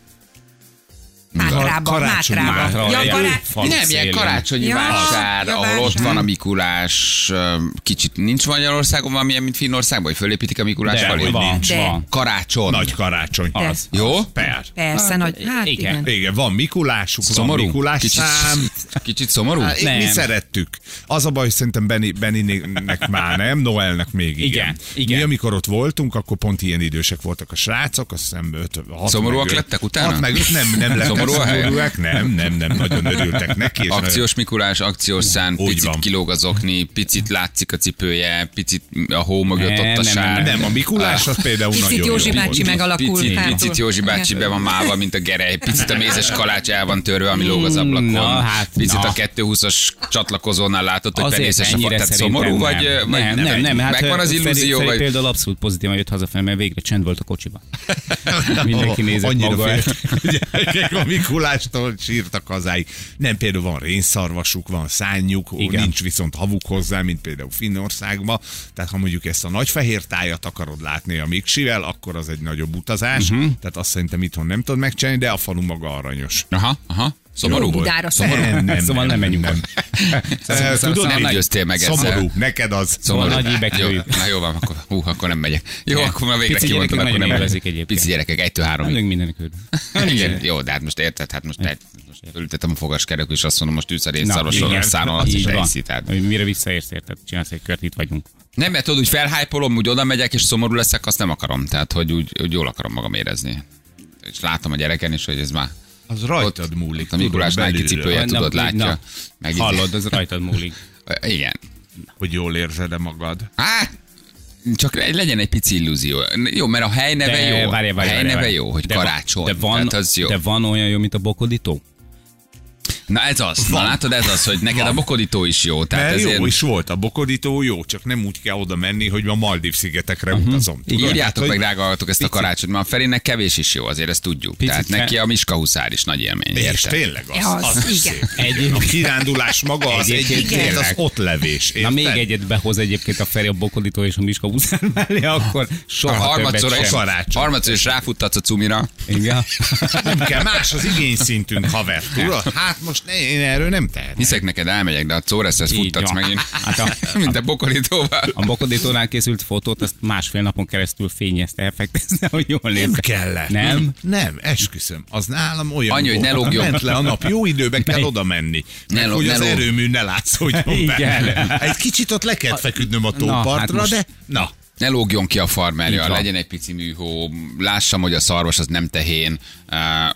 [SPEAKER 7] Mátrába,
[SPEAKER 4] Karácsony
[SPEAKER 7] Mátrába.
[SPEAKER 3] Mátra,
[SPEAKER 7] Ja,
[SPEAKER 3] egy
[SPEAKER 7] bará...
[SPEAKER 3] fal
[SPEAKER 2] nem, ilyen
[SPEAKER 3] szélén.
[SPEAKER 2] karácsonyi
[SPEAKER 7] Ja,
[SPEAKER 2] vásár,
[SPEAKER 7] ja,
[SPEAKER 2] ahol ott
[SPEAKER 7] vásár.
[SPEAKER 2] van a Mikulás, öm, kicsit nincs Magyarországon valamilyen, mint Finnországban, hogy fölépítik a Mikulás
[SPEAKER 3] De,
[SPEAKER 2] felé?
[SPEAKER 3] hogy van,
[SPEAKER 7] De.
[SPEAKER 3] van.
[SPEAKER 2] Karácsony.
[SPEAKER 4] Nagy karácsony.
[SPEAKER 3] Az.
[SPEAKER 2] Jó?
[SPEAKER 4] Per.
[SPEAKER 7] Persze, nagy. Hát
[SPEAKER 3] igen.
[SPEAKER 7] igen.
[SPEAKER 4] Igen, van Mikulásuk, van
[SPEAKER 2] Szomorú?
[SPEAKER 4] Mikulás
[SPEAKER 2] Kicsit,
[SPEAKER 4] szám.
[SPEAKER 2] kicsit szomorú?
[SPEAKER 4] Hát,
[SPEAKER 3] Nem.
[SPEAKER 4] Mi szerettük. Az a baj, hogy szerintem Benny, Bennynek már nem, Noelnek még igen.
[SPEAKER 3] Igen, igen.
[SPEAKER 4] Mi amikor ott voltunk, akkor pont ilyen idősek voltak a srácok, azt hiszem öt, hat
[SPEAKER 2] Szomorúak
[SPEAKER 4] meg öt-
[SPEAKER 2] lettek utána?
[SPEAKER 4] Hat meg öt, nem, nem lettek
[SPEAKER 2] Szomorú a hely?
[SPEAKER 4] szomorúak, nem, nem, nem, nagyon örültek neki. és
[SPEAKER 2] Akciós Mikulás, akciós szán,
[SPEAKER 4] Úgy
[SPEAKER 2] picit
[SPEAKER 4] van.
[SPEAKER 2] kilóg az okni, picit látszik a cipője, picit a hó mögött
[SPEAKER 3] Nem,
[SPEAKER 2] ott a
[SPEAKER 3] nem,
[SPEAKER 2] sár.
[SPEAKER 4] nagyon- Nem, a Mikulás az például
[SPEAKER 7] Picit
[SPEAKER 4] nagyon
[SPEAKER 7] Józsi
[SPEAKER 4] jó
[SPEAKER 7] bácsi
[SPEAKER 4] volt.
[SPEAKER 7] megalakul
[SPEAKER 2] Picit,
[SPEAKER 7] hátul.
[SPEAKER 2] picit Józsi bácsi be van máva, mint a gerej. Picit a mézes kalács el van törve, ami lóg az ablakon.
[SPEAKER 3] Na, hát,
[SPEAKER 2] picit
[SPEAKER 3] na.
[SPEAKER 2] a 220-as csatlakozónál látod, hogy
[SPEAKER 3] Azért
[SPEAKER 2] benézes a fa.
[SPEAKER 3] ennyire
[SPEAKER 2] Tehát
[SPEAKER 3] szerintem
[SPEAKER 2] szomorú
[SPEAKER 3] nem.
[SPEAKER 2] vagy?
[SPEAKER 3] nem,
[SPEAKER 2] vagy
[SPEAKER 3] nem, nem, nem. Hát
[SPEAKER 2] Megvan az
[SPEAKER 3] Feri-
[SPEAKER 2] illúzió,
[SPEAKER 3] Feri,
[SPEAKER 2] vagy...
[SPEAKER 3] például abszolút pozitívan jött hazafelé, mert végre csend volt a kocsiban. Mindenki nézett
[SPEAKER 4] Annyira
[SPEAKER 3] maga.
[SPEAKER 4] féltek a gyerekek a Mikulástól sírtak hazáig. Nem például van rénszarvasuk, van szányuk,
[SPEAKER 3] Igen.
[SPEAKER 4] Igen. nincs viszont havuk hozzá, mint például Finnországban. Tehát ha mondjuk ezt a nagy fehér tájat akarod látni a Miksivel, akkor az egy nagyobb utazás.
[SPEAKER 3] Mhm.
[SPEAKER 4] Uh-huh. Tehát azt szerintem itthon nem tudod megcsinálni, de a falu maga aranyos.
[SPEAKER 2] Aha, aha. Szomorú volt.
[SPEAKER 7] Budára
[SPEAKER 2] Szomorú.
[SPEAKER 7] szeretem.
[SPEAKER 3] Szóval nem menjünk
[SPEAKER 4] Eh, Tudod,
[SPEAKER 2] nem
[SPEAKER 4] mit?
[SPEAKER 2] győztél meg ezzel.
[SPEAKER 4] Szomorú, neked az.
[SPEAKER 2] Szomorú.
[SPEAKER 3] Szóval nagy
[SPEAKER 2] jó,
[SPEAKER 3] íbekről.
[SPEAKER 2] na jó van, akkor, hú, akkor nem megyek. Jó,
[SPEAKER 3] Igen.
[SPEAKER 2] akkor már végre
[SPEAKER 3] Pici
[SPEAKER 2] kimondtam,
[SPEAKER 3] gyerekek
[SPEAKER 2] akkor
[SPEAKER 3] nagyon
[SPEAKER 2] nem
[SPEAKER 3] élvezik
[SPEAKER 2] megyek.
[SPEAKER 3] egyébként.
[SPEAKER 2] Pici gyerekek, egytől háromig.
[SPEAKER 3] Menjünk mindenek körül.
[SPEAKER 2] Igen, jó, de hát most érted, hát most, egy, most ültetem a fogaskerekű, és azt mondom, most ülsz a
[SPEAKER 3] Na,
[SPEAKER 2] részszarvason,
[SPEAKER 3] igen.
[SPEAKER 2] a száron, azt is
[SPEAKER 3] Így van.
[SPEAKER 2] elhiszi, tehát.
[SPEAKER 3] Hogy Mire visszaérsz, érted? Csinálsz egy kört, itt vagyunk.
[SPEAKER 2] Nem, mert tudod, úgy felhájpolom, úgy oda megyek, és szomorú leszek, azt nem akarom. Tehát, hogy úgy, úgy jól akarom magam érezni. És látom a gyereken is, hogy ez már
[SPEAKER 4] Az rajtad múlik.
[SPEAKER 2] a Mikulás
[SPEAKER 4] tudod,
[SPEAKER 2] Nike
[SPEAKER 4] belülről.
[SPEAKER 2] cipője,
[SPEAKER 3] Na,
[SPEAKER 2] tudod,
[SPEAKER 3] na,
[SPEAKER 2] látja.
[SPEAKER 3] na.
[SPEAKER 2] Meg így-
[SPEAKER 3] Hallod, az rajtad múlik.
[SPEAKER 2] Igen.
[SPEAKER 4] Hogy jól érzed magad.
[SPEAKER 2] Hát, Csak legyen egy pici illúzió. Jó, mert a helyneve jó.
[SPEAKER 3] várjál,
[SPEAKER 2] a
[SPEAKER 3] várjál,
[SPEAKER 2] helyneve
[SPEAKER 3] várjál.
[SPEAKER 2] jó, hogy
[SPEAKER 3] de van-
[SPEAKER 2] karácsony.
[SPEAKER 3] De van,
[SPEAKER 2] Tehát az jó.
[SPEAKER 3] de van olyan jó, mint a bokodító?
[SPEAKER 2] Na ez az, na látod, ez az, hogy neked a bokodító is jó. Tehát
[SPEAKER 4] Mert
[SPEAKER 2] ezért...
[SPEAKER 4] jó is volt, a bokodító jó, csak nem úgy kell oda menni, hogy ma Maldív-szigetekre utazom.
[SPEAKER 2] Igen,
[SPEAKER 4] Tudod?
[SPEAKER 2] Mhm. Írjátok
[SPEAKER 4] Hát,
[SPEAKER 2] meg,
[SPEAKER 4] hogy-
[SPEAKER 2] drága hallgatók, ezt a karácsonyt, mert a Ferinek kevés is jó, azért ezt tudjuk.
[SPEAKER 3] Picit
[SPEAKER 2] Tehát
[SPEAKER 3] fe-
[SPEAKER 2] neki a Miska Huszár is nagy élmény.
[SPEAKER 4] És
[SPEAKER 2] Érted?
[SPEAKER 4] tényleg az,
[SPEAKER 7] Ja, az,
[SPEAKER 4] az, is
[SPEAKER 7] igen.
[SPEAKER 4] szép. A kirándulás maga az
[SPEAKER 3] Egyébként
[SPEAKER 4] egyébként,
[SPEAKER 3] tényleg.
[SPEAKER 4] az ott levés.
[SPEAKER 3] Na még egyet behoz egyébként a Feri a bokodító és a Miska Buzár mellé, akkor
[SPEAKER 2] A
[SPEAKER 3] soha
[SPEAKER 2] harmadszor
[SPEAKER 3] többet
[SPEAKER 2] is,
[SPEAKER 3] sem.
[SPEAKER 4] Karácsony.
[SPEAKER 2] harmadszor is ráfuttatsz a cumira.
[SPEAKER 3] Igen.
[SPEAKER 4] Nem kell, más az igényszintünk, haver, tudod? Hát most ne- én erről nem tehetek.
[SPEAKER 2] Hiszek neked, elmegyek, de a Córesz, ezt
[SPEAKER 3] Így
[SPEAKER 2] futtatsz
[SPEAKER 3] van.
[SPEAKER 2] megint.
[SPEAKER 3] Hát a-
[SPEAKER 2] Mint a bokolítóval.
[SPEAKER 3] A bokodítónál készült fotót, azt másfél napon keresztül fényezte, effektezte, hogy jól néz.
[SPEAKER 4] Nem kellett.
[SPEAKER 3] Nem?
[SPEAKER 4] Nem, esküszöm. Az nálam olyan
[SPEAKER 2] Annyi, hogy
[SPEAKER 4] volt.
[SPEAKER 2] ne lógjon.
[SPEAKER 4] Ment le a nap. Jó időben kell oda menni.
[SPEAKER 2] Ne
[SPEAKER 4] Meg,
[SPEAKER 2] ló-
[SPEAKER 4] hogy
[SPEAKER 2] ne
[SPEAKER 4] az
[SPEAKER 2] lóg.
[SPEAKER 4] erőmű ne látszódjon
[SPEAKER 3] Igen.
[SPEAKER 4] be. Egy kicsit ott le kellett feküdnöm a
[SPEAKER 3] Na, hát
[SPEAKER 4] tópartra,
[SPEAKER 3] most-
[SPEAKER 4] de na.
[SPEAKER 2] Ne lógjon ki a farmerja,
[SPEAKER 3] Így van.
[SPEAKER 2] legyen egy pici műhó, lássam, hogy a szarvas az nem tehén,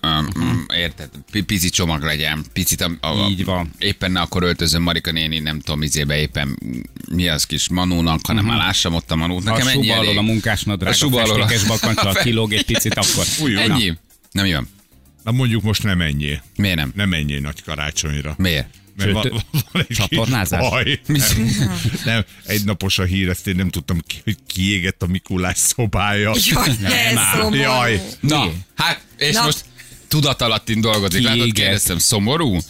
[SPEAKER 2] uh, um, um, érted? P- pici csomag legyen, picit a, a, a,
[SPEAKER 3] Így van.
[SPEAKER 2] éppen ne akkor öltözöm Marika néni, nem tudom, izébe éppen mi az kis manónak, hanem már lássam ott a manót.
[SPEAKER 3] A
[SPEAKER 2] Nekem ennyi
[SPEAKER 3] suba alól
[SPEAKER 2] elég.
[SPEAKER 3] Mhm. a munkásnadrág,
[SPEAKER 2] A
[SPEAKER 3] a,
[SPEAKER 2] suba
[SPEAKER 3] a
[SPEAKER 2] alól a-
[SPEAKER 3] festékes bakancsal kilóg egy picit, akkor...
[SPEAKER 2] Ennyi? Nem jön.
[SPEAKER 4] Na mondjuk most nem ennyi.
[SPEAKER 2] Miért nem?
[SPEAKER 4] Nem ennyi nagy karácsonyra.
[SPEAKER 2] Miért?
[SPEAKER 4] Mert
[SPEAKER 3] Sőt,
[SPEAKER 4] van, van egy kis
[SPEAKER 3] csatornázás?
[SPEAKER 4] baj. Nem, nem, egy napos a hír, ezt én nem tudtam ki, hogy kiégett a Mikulás szobája.
[SPEAKER 7] Jaj, ez szomorú.
[SPEAKER 4] Jaj.
[SPEAKER 2] Na, hát, és
[SPEAKER 7] Na.
[SPEAKER 2] most tudatalattin dolgozik. Látod,
[SPEAKER 3] Kiégett.
[SPEAKER 2] kérdeztem, szomorú?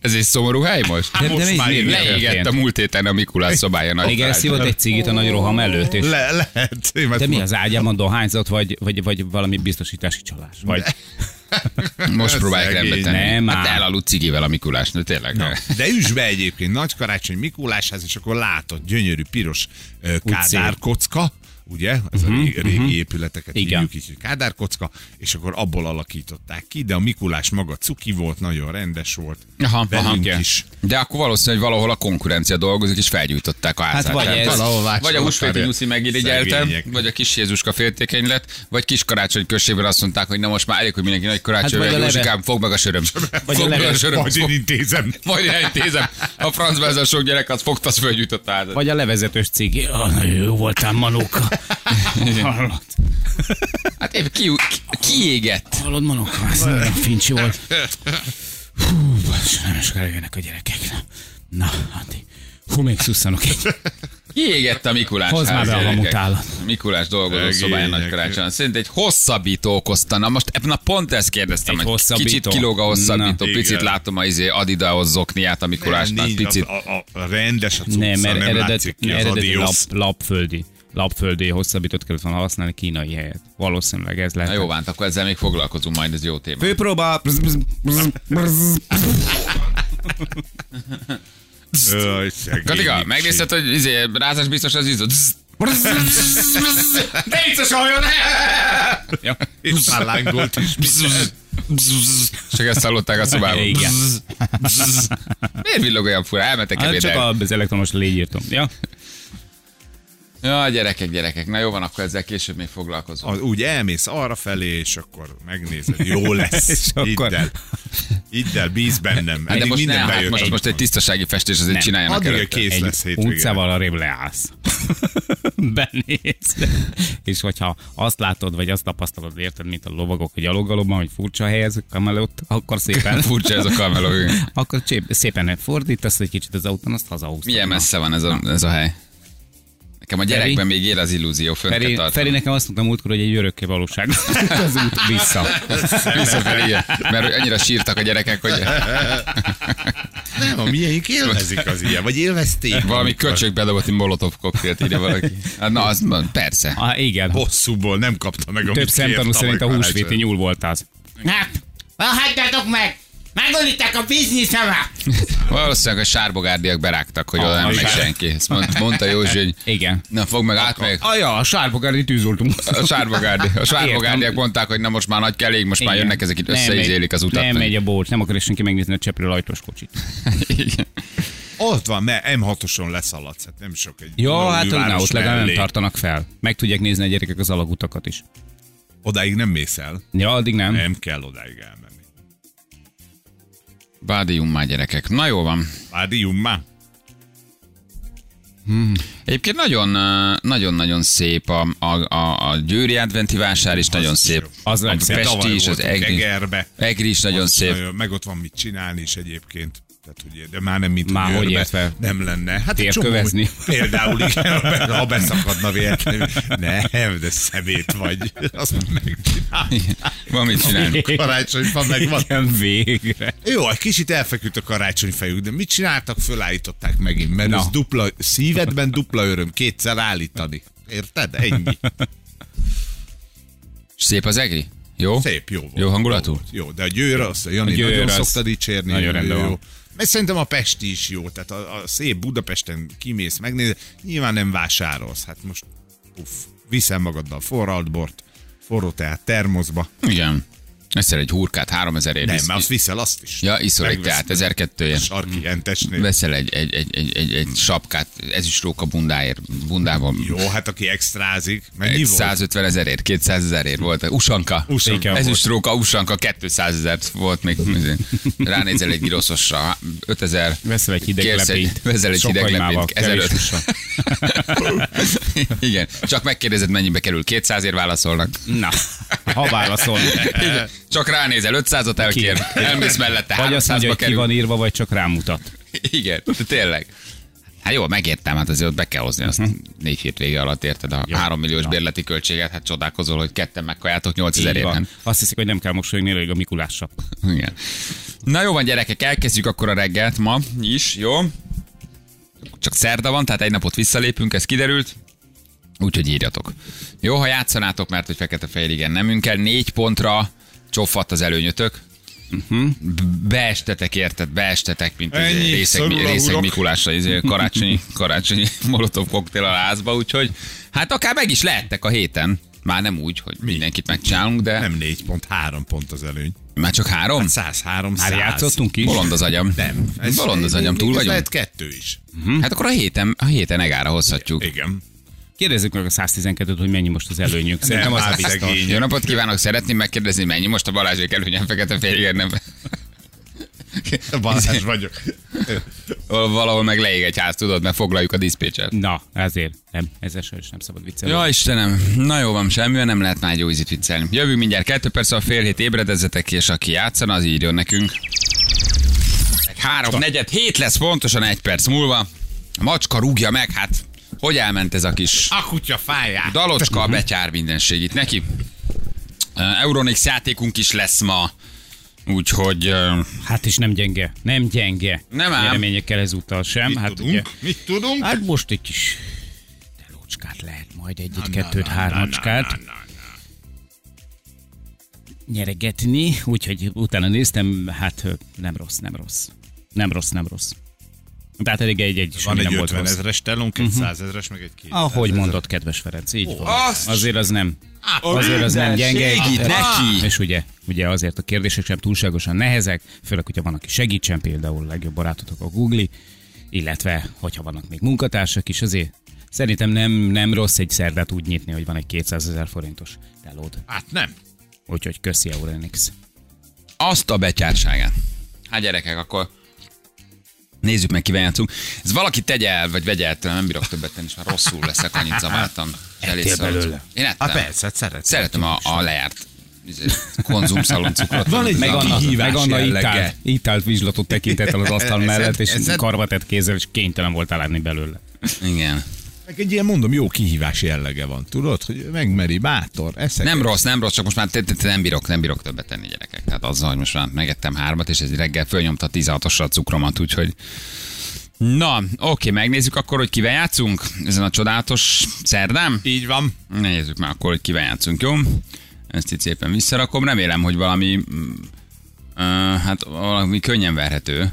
[SPEAKER 2] Ez egy szomorú hely most? Hát,
[SPEAKER 3] Hát, De- de
[SPEAKER 4] most
[SPEAKER 3] mi-
[SPEAKER 4] már
[SPEAKER 3] mi-
[SPEAKER 4] én
[SPEAKER 3] mi-
[SPEAKER 2] Leégett
[SPEAKER 3] történt?
[SPEAKER 2] a múlt héten a Mikulás szobája nagy
[SPEAKER 3] Igen,
[SPEAKER 2] karácsony.
[SPEAKER 3] szívott egy cigit a nagy roham előtt, és
[SPEAKER 4] Le, lehet. Én
[SPEAKER 3] te
[SPEAKER 4] ezt
[SPEAKER 3] mi az ágyában dohányzott, vagy, vagy, vagy valami biztosítási csalás? Vagy
[SPEAKER 2] Most próbálják
[SPEAKER 4] Szegény.
[SPEAKER 2] rendbe tenni.
[SPEAKER 3] Nem
[SPEAKER 2] hát
[SPEAKER 3] ám.
[SPEAKER 2] elaludt cigivel a Mikulás, de tényleg.
[SPEAKER 4] Na, de üsd be egyébként nagy karácsony Mikuláshez, és akkor látod, gyönyörű piros ö, kádárkocka, ugye? Ez a régi, régi épületeket
[SPEAKER 3] Mhm, Igen.
[SPEAKER 4] hívjuk így, hogy kádárkocka, és akkor abból alakították ki, de a Mikulás maga cuki volt, nagyon rendes volt.
[SPEAKER 2] Aha, aha.
[SPEAKER 4] Velünk is.
[SPEAKER 2] De akkor valószínűleg valahol a konkurencia dolgozik, és felgyújtották a házát.
[SPEAKER 3] Hát vagy
[SPEAKER 2] Tehát
[SPEAKER 3] ez-
[SPEAKER 4] valahol
[SPEAKER 2] vagy a
[SPEAKER 4] vásárolták
[SPEAKER 2] húsvéti
[SPEAKER 4] el.
[SPEAKER 2] nyuszi megirigyeltem,
[SPEAKER 4] Szegények.
[SPEAKER 2] vagy a kis Jézuska féltékeny lett, vagy kis karácsony községben azt mondták, hogy na most már elég, hogy mindenki nagy karácsony,
[SPEAKER 3] vagy
[SPEAKER 2] hát
[SPEAKER 3] a leve-
[SPEAKER 2] Józsikám, fogd meg a söröm.
[SPEAKER 3] vagy a
[SPEAKER 2] Fogd meg
[SPEAKER 3] leve-
[SPEAKER 2] a söröm.
[SPEAKER 4] Majd én intézem.
[SPEAKER 2] Majd én intézem. A francba ez a sok gyerek, az fogta, az felgyújtott a házat.
[SPEAKER 3] vagy a levezetős cigi. Ah, nagyon jó voltál, Manóka. Hallod,
[SPEAKER 2] Hát épp ki, ki- kiégett.
[SPEAKER 3] hallod Manóka? Ez nagyon fincsi volt. Hú, basszus, nagyon sokára jönnek a gyerekek. Na, Na, Andi. Hú, még szusszanok egy.
[SPEAKER 2] Kiégett a Mikulás
[SPEAKER 3] Hozd
[SPEAKER 2] ház,
[SPEAKER 3] már be a
[SPEAKER 2] gyerekek.
[SPEAKER 3] mamutálat.
[SPEAKER 2] Mikulás dolgozó
[SPEAKER 4] Szegények.
[SPEAKER 2] szobája nagy karácsony. Szerint egy hosszabbító okozta. Na most eb- na pont ezt kérdeztem,
[SPEAKER 3] Egy
[SPEAKER 2] hogy
[SPEAKER 3] hosszabbító.
[SPEAKER 2] kicsit kilóg a hosszabbító,
[SPEAKER 4] Na.
[SPEAKER 2] picit
[SPEAKER 4] Igen.
[SPEAKER 2] látom a izé Adidahoz zokniát a Mikulásnak,
[SPEAKER 4] nincs,
[SPEAKER 2] picit.
[SPEAKER 4] az- a, a, a rendes a cucca,
[SPEAKER 3] Nem,
[SPEAKER 4] nem,
[SPEAKER 3] mert eredet,
[SPEAKER 4] látszik ki az
[SPEAKER 3] eredeti lap,
[SPEAKER 4] adios.
[SPEAKER 3] lapföldi, lapföldi hosszabbított kellett volna használni kínai helyet. Valószínűleg ez lehet.
[SPEAKER 2] Na jó, Vánt, akkor ezzel még foglalkozunk majd, ez jó téma.
[SPEAKER 3] Főpróba!
[SPEAKER 4] Öj, szegény
[SPEAKER 2] Katika,
[SPEAKER 4] Miksi.
[SPEAKER 2] megnézted, hogy izé, rázás biztos az izot. De vicces halljon!
[SPEAKER 3] Ja.
[SPEAKER 4] És már lángolt is.
[SPEAKER 2] Csak ezt hallották a szobában.
[SPEAKER 3] Igen.
[SPEAKER 2] Miért villog olyan fura? Elmentek
[SPEAKER 3] Hát
[SPEAKER 2] ebédelni.
[SPEAKER 3] csak az elektromos légyírtom. Ja?
[SPEAKER 2] Ja, gyerekek, gyerekek. Na jó van, akkor ezzel később még foglalkozunk.
[SPEAKER 4] Az, úgy elmész arra felé, és akkor megnézed, jó lesz.
[SPEAKER 3] És akkor-
[SPEAKER 4] Hidd el. Hidd el, bíz bennem.
[SPEAKER 2] Hát de
[SPEAKER 4] Eddig
[SPEAKER 2] most
[SPEAKER 4] minden
[SPEAKER 2] nem, hát
[SPEAKER 4] bejött,
[SPEAKER 2] most,
[SPEAKER 4] amit
[SPEAKER 2] most egy
[SPEAKER 4] mondtam.
[SPEAKER 2] tisztasági festés azért
[SPEAKER 3] Nem.
[SPEAKER 2] csináljanak
[SPEAKER 4] Addig a
[SPEAKER 2] előtte.
[SPEAKER 4] kész
[SPEAKER 3] Egy
[SPEAKER 4] lesz hétvégén.
[SPEAKER 3] utcával arrébb leállsz. Benéz. És hogyha azt látod, vagy azt tapasztalod, érted, mint a lovagok a gyalogalomban, hogy furcsa hely ez a kamelót, akkor szépen...
[SPEAKER 2] Furcsa ez a kameló. igen.
[SPEAKER 3] akkor csép, szépen fordítasz egy kicsit az autón, azt hazahúztad.
[SPEAKER 2] Milyen
[SPEAKER 3] Na.
[SPEAKER 2] messze van ez a, ez a hely? Nekem a gyerekben
[SPEAKER 3] Feri?
[SPEAKER 2] még él az illúzió, fönn kell
[SPEAKER 3] Feri,
[SPEAKER 2] tartani.
[SPEAKER 3] Feri nekem azt mondta múltkor, hogy egy örökké valóság az út vissza.
[SPEAKER 2] Visszafelé, igen. mert annyira sírtak a gyerekek, hogy
[SPEAKER 4] Nem, a miénk élvezik az ilyen, vagy élvezték.
[SPEAKER 2] valami köcsökbe dobott egy molotov koktélt írja valaki. Hát Na, az na, persze.
[SPEAKER 3] Ah, igen,
[SPEAKER 4] Bosszúból nem kapta meg, amit
[SPEAKER 3] több szemtanú
[SPEAKER 4] kért
[SPEAKER 3] szerint a
[SPEAKER 4] tavaly
[SPEAKER 3] húsvéti
[SPEAKER 4] karácsonyra.
[SPEAKER 3] nyúl volt az. Hát, hagyjátok meg! Megölítek a bizniszemet!
[SPEAKER 2] Valószínűleg a sárbogárdiak berágtak, hogy oda nem megy
[SPEAKER 4] igen.
[SPEAKER 2] senki. Ezt mond- mondta Józsi, hogy
[SPEAKER 3] Ah, Igen.
[SPEAKER 2] na fogd meg, átmegyek.
[SPEAKER 3] Aja, a sárbogári tűzoltunk.
[SPEAKER 2] A sárbogárdi, a sárbogárdiak
[SPEAKER 3] Értem.
[SPEAKER 2] mondták, hogy na most már nagy elég, most már
[SPEAKER 3] Igen.
[SPEAKER 2] jönnek ezek itt
[SPEAKER 3] Nem
[SPEAKER 2] összeizélik
[SPEAKER 3] megy-
[SPEAKER 2] az utat.
[SPEAKER 3] Nem megy a bócs, nem akarja senki megnézni a Csepről ajtós kocsit.
[SPEAKER 2] Igen.
[SPEAKER 4] Ott van, mert M6-oson leszaladsz, hát nem sok egy
[SPEAKER 3] Jó,
[SPEAKER 4] valami
[SPEAKER 3] hát na,
[SPEAKER 4] város
[SPEAKER 3] ott legalább nem
[SPEAKER 4] mellé.
[SPEAKER 3] tartanak fel. Meg tudják nézni a gyerekek az alagutakat is.
[SPEAKER 4] Odáig nem mész el,
[SPEAKER 3] Ja, addig nem.
[SPEAKER 4] nem kell odáig elmenni.
[SPEAKER 2] Vádium már gyerekek. Na jó van.
[SPEAKER 4] Vádium már.
[SPEAKER 2] Egyébként nagyon, ö, nagyon-nagyon szép a, a, a, a Győri adventi vásár is, nagyon szép.
[SPEAKER 3] az
[SPEAKER 2] a
[SPEAKER 3] nagyon szép.
[SPEAKER 2] Pesti
[SPEAKER 4] Tavaly
[SPEAKER 2] is, az
[SPEAKER 4] voltunk
[SPEAKER 2] Egri,
[SPEAKER 4] Egerbe.
[SPEAKER 2] Egri is nagyon
[SPEAKER 4] Az
[SPEAKER 2] szép.
[SPEAKER 4] Nagyon, meg ott van mit csinálni is egyébként. Tehát, ugye, de már nem mint
[SPEAKER 3] Már
[SPEAKER 4] a
[SPEAKER 3] hogy
[SPEAKER 4] Győrbe.
[SPEAKER 3] értve?
[SPEAKER 4] Nem lenne. Hát egy
[SPEAKER 3] Térkövezni.
[SPEAKER 4] csomó- Például igen, ha be- ha beszakadna véletlenül. Nem, de szemét vagy. Azt meg
[SPEAKER 2] Van mit csinálni.
[SPEAKER 4] karácsonyfa meg van.
[SPEAKER 3] Igen, végre.
[SPEAKER 4] Jó, egy kicsit elfeküdt a karácsonyfejük, de mit csináltak? Fölállították megint, mert
[SPEAKER 3] Na.
[SPEAKER 4] ez dupla, szívedben dupla öröm, kétszer állítani. Érted? Ennyi.
[SPEAKER 2] Szép az Egri? Jó?
[SPEAKER 4] Szép, jó volt.
[SPEAKER 2] Jó hangulatú?
[SPEAKER 4] Jó, volt. jó de a győr, azt a Jani
[SPEAKER 3] A
[SPEAKER 4] a
[SPEAKER 3] Győr
[SPEAKER 4] nagyon
[SPEAKER 3] az-
[SPEAKER 4] az... szokta dicsérni.
[SPEAKER 3] nagyon
[SPEAKER 4] ő
[SPEAKER 3] rendben
[SPEAKER 4] jó.
[SPEAKER 3] van.
[SPEAKER 4] Mert szerintem a Pesti is jó, tehát a, a szép Budapesten kimész, megnézed, nyilván nem vásárolsz. Hát most uff, viszel magaddal forralt bort, forró teát termoszba.
[SPEAKER 2] Igen. Egyszer egy hurkát 3000 ért.
[SPEAKER 4] Nem,
[SPEAKER 2] isz-
[SPEAKER 4] mert azt viszel azt is.
[SPEAKER 2] Ja, iszol egy
[SPEAKER 4] Megveszed.
[SPEAKER 2] teát Hmm. 1200
[SPEAKER 4] A
[SPEAKER 2] ért.
[SPEAKER 4] Sarki entesnél.
[SPEAKER 2] Veszel egy, egy, egy, egy, egy, egy sapkát, ezüstróka bundáért, bundával.
[SPEAKER 4] Jó, hát aki extrázik, mennyi
[SPEAKER 2] Egy
[SPEAKER 4] volt?
[SPEAKER 2] 150 ezerért, 200 ezerért volt. Usanka.
[SPEAKER 4] Usanka
[SPEAKER 2] Ez
[SPEAKER 4] volt.
[SPEAKER 2] is róka, usanka, 200 ezer volt még. Ránézel egy giroszosra, 5000.
[SPEAKER 3] Veszel egy hideg
[SPEAKER 2] Kérsz
[SPEAKER 3] lepényt.
[SPEAKER 2] Veszel egy
[SPEAKER 3] Sok
[SPEAKER 2] hideg
[SPEAKER 3] hagymával,
[SPEAKER 2] lepényt,
[SPEAKER 3] kevés
[SPEAKER 2] 1500.
[SPEAKER 3] hússal.
[SPEAKER 2] Igen, csak megkérdezed, mennyibe kerül. 200 ért válaszolnak.
[SPEAKER 3] Na, ha válaszol.
[SPEAKER 2] Csak ránézel, 500-at elkér, elmész mellette,
[SPEAKER 3] Vagy azt mondja,
[SPEAKER 2] 300-ba
[SPEAKER 3] hogy ki
[SPEAKER 2] kerül.
[SPEAKER 3] van írva, vagy csak rámutat.
[SPEAKER 2] Igen, de tényleg. Hát jó, megértem, hát azért ott be kell hozni
[SPEAKER 3] Mhm.
[SPEAKER 2] azt négy hét vége alatt, érted? A három milliós bérleti költséget, hát csodálkozol, hogy ketten megkajátok 8000
[SPEAKER 3] Így
[SPEAKER 2] ért.
[SPEAKER 3] van.
[SPEAKER 2] nem?
[SPEAKER 3] Azt hiszik, hogy nem kell mosolyogni, elég a Mikulásra.
[SPEAKER 2] Igen. Na jó van gyerekek, elkezdjük akkor a reggelt ma is, jó? Csak szerda van, tehát egy napot visszalépünk, ez kiderült. Úgyhogy írjatok. Jó, ha játszanátok, mert hogy fekete fehér igen nemünkkel, négy pontra csoffadt az előnyötök. Uh-huh. Beestetek, érted? Beestetek, mint izé
[SPEAKER 4] Mhm. Ennyi,
[SPEAKER 2] részeg,
[SPEAKER 4] szorul a
[SPEAKER 2] részeg
[SPEAKER 4] hurok.
[SPEAKER 2] Mikulásra, izé, karácsonyi, karácsonyi molotov koktél a lázba, úgyhogy hát akár meg is lehettek a héten. Már nem úgy, hogy mindenkit megcsinálunk, de
[SPEAKER 4] Nem Hát 4 pont, 3 pont az előny.
[SPEAKER 2] már csak három?
[SPEAKER 4] 103, 100.
[SPEAKER 3] Már játszottunk is.
[SPEAKER 2] Bolond az agyam.
[SPEAKER 4] Nem.
[SPEAKER 2] Ez Bolond az agyam, túl
[SPEAKER 4] ez
[SPEAKER 2] vagyunk.
[SPEAKER 4] Lehet kettő is.
[SPEAKER 2] Hm? Hát akkor a héten, a héten egára hozhatjuk.
[SPEAKER 4] Igen.
[SPEAKER 3] Kérdezzük meg a 112-t, hogy mennyi most az előnyük. Szerintem az a
[SPEAKER 4] már
[SPEAKER 3] biztos.
[SPEAKER 4] szegény.
[SPEAKER 2] Jó napot kívánok, szeretném megkérdezni, mennyi most a Balázsék előnyen fekete férjér nem.
[SPEAKER 4] Balázs vagyok.
[SPEAKER 2] Valahol meg leég egy ház, tudod, mert foglaljuk a diszpécset.
[SPEAKER 3] Na, ezért. Nem, ezzel sem is nem szabad viccelni.
[SPEAKER 2] Ja, Istenem, na jó van, semmi, nem lehet már egy jó ízit viccelni. Jövünk mindjárt kettő perc, a fél hét ébredezzetek, és aki játszana, az írjon nekünk. Három, negyed, hét lesz pontosan egy perc múlva. A macska rúgja meg, hát hogy elment ez a kis
[SPEAKER 3] Ah.
[SPEAKER 4] A kutya fájá.
[SPEAKER 2] Dalocska, a betyár mindenségit neki. Uh, Euronix játékunk is lesz ma, úgyhogy uh,
[SPEAKER 3] Hát is nem gyenge. Nem gyenge.
[SPEAKER 2] Nem ám.
[SPEAKER 3] Reményekkel ezúttal sem.
[SPEAKER 4] Mit
[SPEAKER 3] hát
[SPEAKER 4] tudunk?
[SPEAKER 3] ugye.
[SPEAKER 4] Mit tudunk?
[SPEAKER 3] Hát most egy kis telócskát lehet, majd egyet, kettőt, hármacskát. nyeregetni, úgyhogy utána néztem, hát ö, nem rossz, nem rossz. Nem rossz, nem rossz. Tehát elég egy-egy semmi
[SPEAKER 4] Van
[SPEAKER 3] nem
[SPEAKER 4] egy
[SPEAKER 3] volt
[SPEAKER 4] 50
[SPEAKER 3] rossz.
[SPEAKER 4] ezres telunk, egy
[SPEAKER 2] Mhm.
[SPEAKER 4] 100 ezres, meg egy 200
[SPEAKER 3] Ahogy
[SPEAKER 4] ezres.
[SPEAKER 3] mondott, kedves Ferenc, így van.
[SPEAKER 2] azt
[SPEAKER 3] Azért az nem. Azért az nem gyenge.
[SPEAKER 2] Segít neki!
[SPEAKER 3] És ugye, ugye azért a kérdések sem túlságosan nehezek, főleg, hogyha van, aki segítsen, például a legjobb barátotok a Google, illetve, hogyha vannak még munkatársak is, azért szerintem nem, nem rossz egy szerdát úgy nyitni, hogy van egy 200 ezer forintos telód.
[SPEAKER 4] Hát nem.
[SPEAKER 3] Úgyhogy köszi Euronix.
[SPEAKER 2] azt a betyárságát. Hát gyerekek, akkor nézzük meg, kivel játszunk. Ez valaki tegye el, vagy vegye el, tőlem, nem bírok többet tenni, és már rosszul leszek, annyit zaváltam. Elég szarult.
[SPEAKER 3] belőle?
[SPEAKER 2] Én ettem.
[SPEAKER 4] Hát persze, hát szeretem.
[SPEAKER 2] Szeretem a, a lejárt izé, konzumszaloncukrot.
[SPEAKER 4] Van egy
[SPEAKER 3] Meg
[SPEAKER 4] Aki
[SPEAKER 3] Anna,
[SPEAKER 4] hívás
[SPEAKER 3] meg Anna
[SPEAKER 4] jelleggel.
[SPEAKER 3] itált, itált vizslatot tekintettel az asztal
[SPEAKER 4] Ez-
[SPEAKER 3] mellett, és
[SPEAKER 4] ez-
[SPEAKER 3] karbatett kézzel, és kénytelen volt állni belőle.
[SPEAKER 2] Igen.
[SPEAKER 4] Meg egy ilyen, mondom, jó kihívás jellege van. Tudod, hogy megmeri, bátor, eszek.
[SPEAKER 2] Nem rossz, nem rossz, csak most már te, te, te nem bírok, nem bírok többet tenni gyerekek. Tehát azzal, hogy most már megettem hármat, és ez reggel fölnyomta 16-osra a cukromat, úgyhogy... Na, oké, megnézzük akkor, hogy kivel játszunk ezen a csodálatos szerdán.
[SPEAKER 4] Így van.
[SPEAKER 2] Nézzük meg akkor, hogy kivel játszunk, jó? Ezt itt szépen visszarakom. Remélem, hogy valami... mm, ö, hát valami könnyen verhető.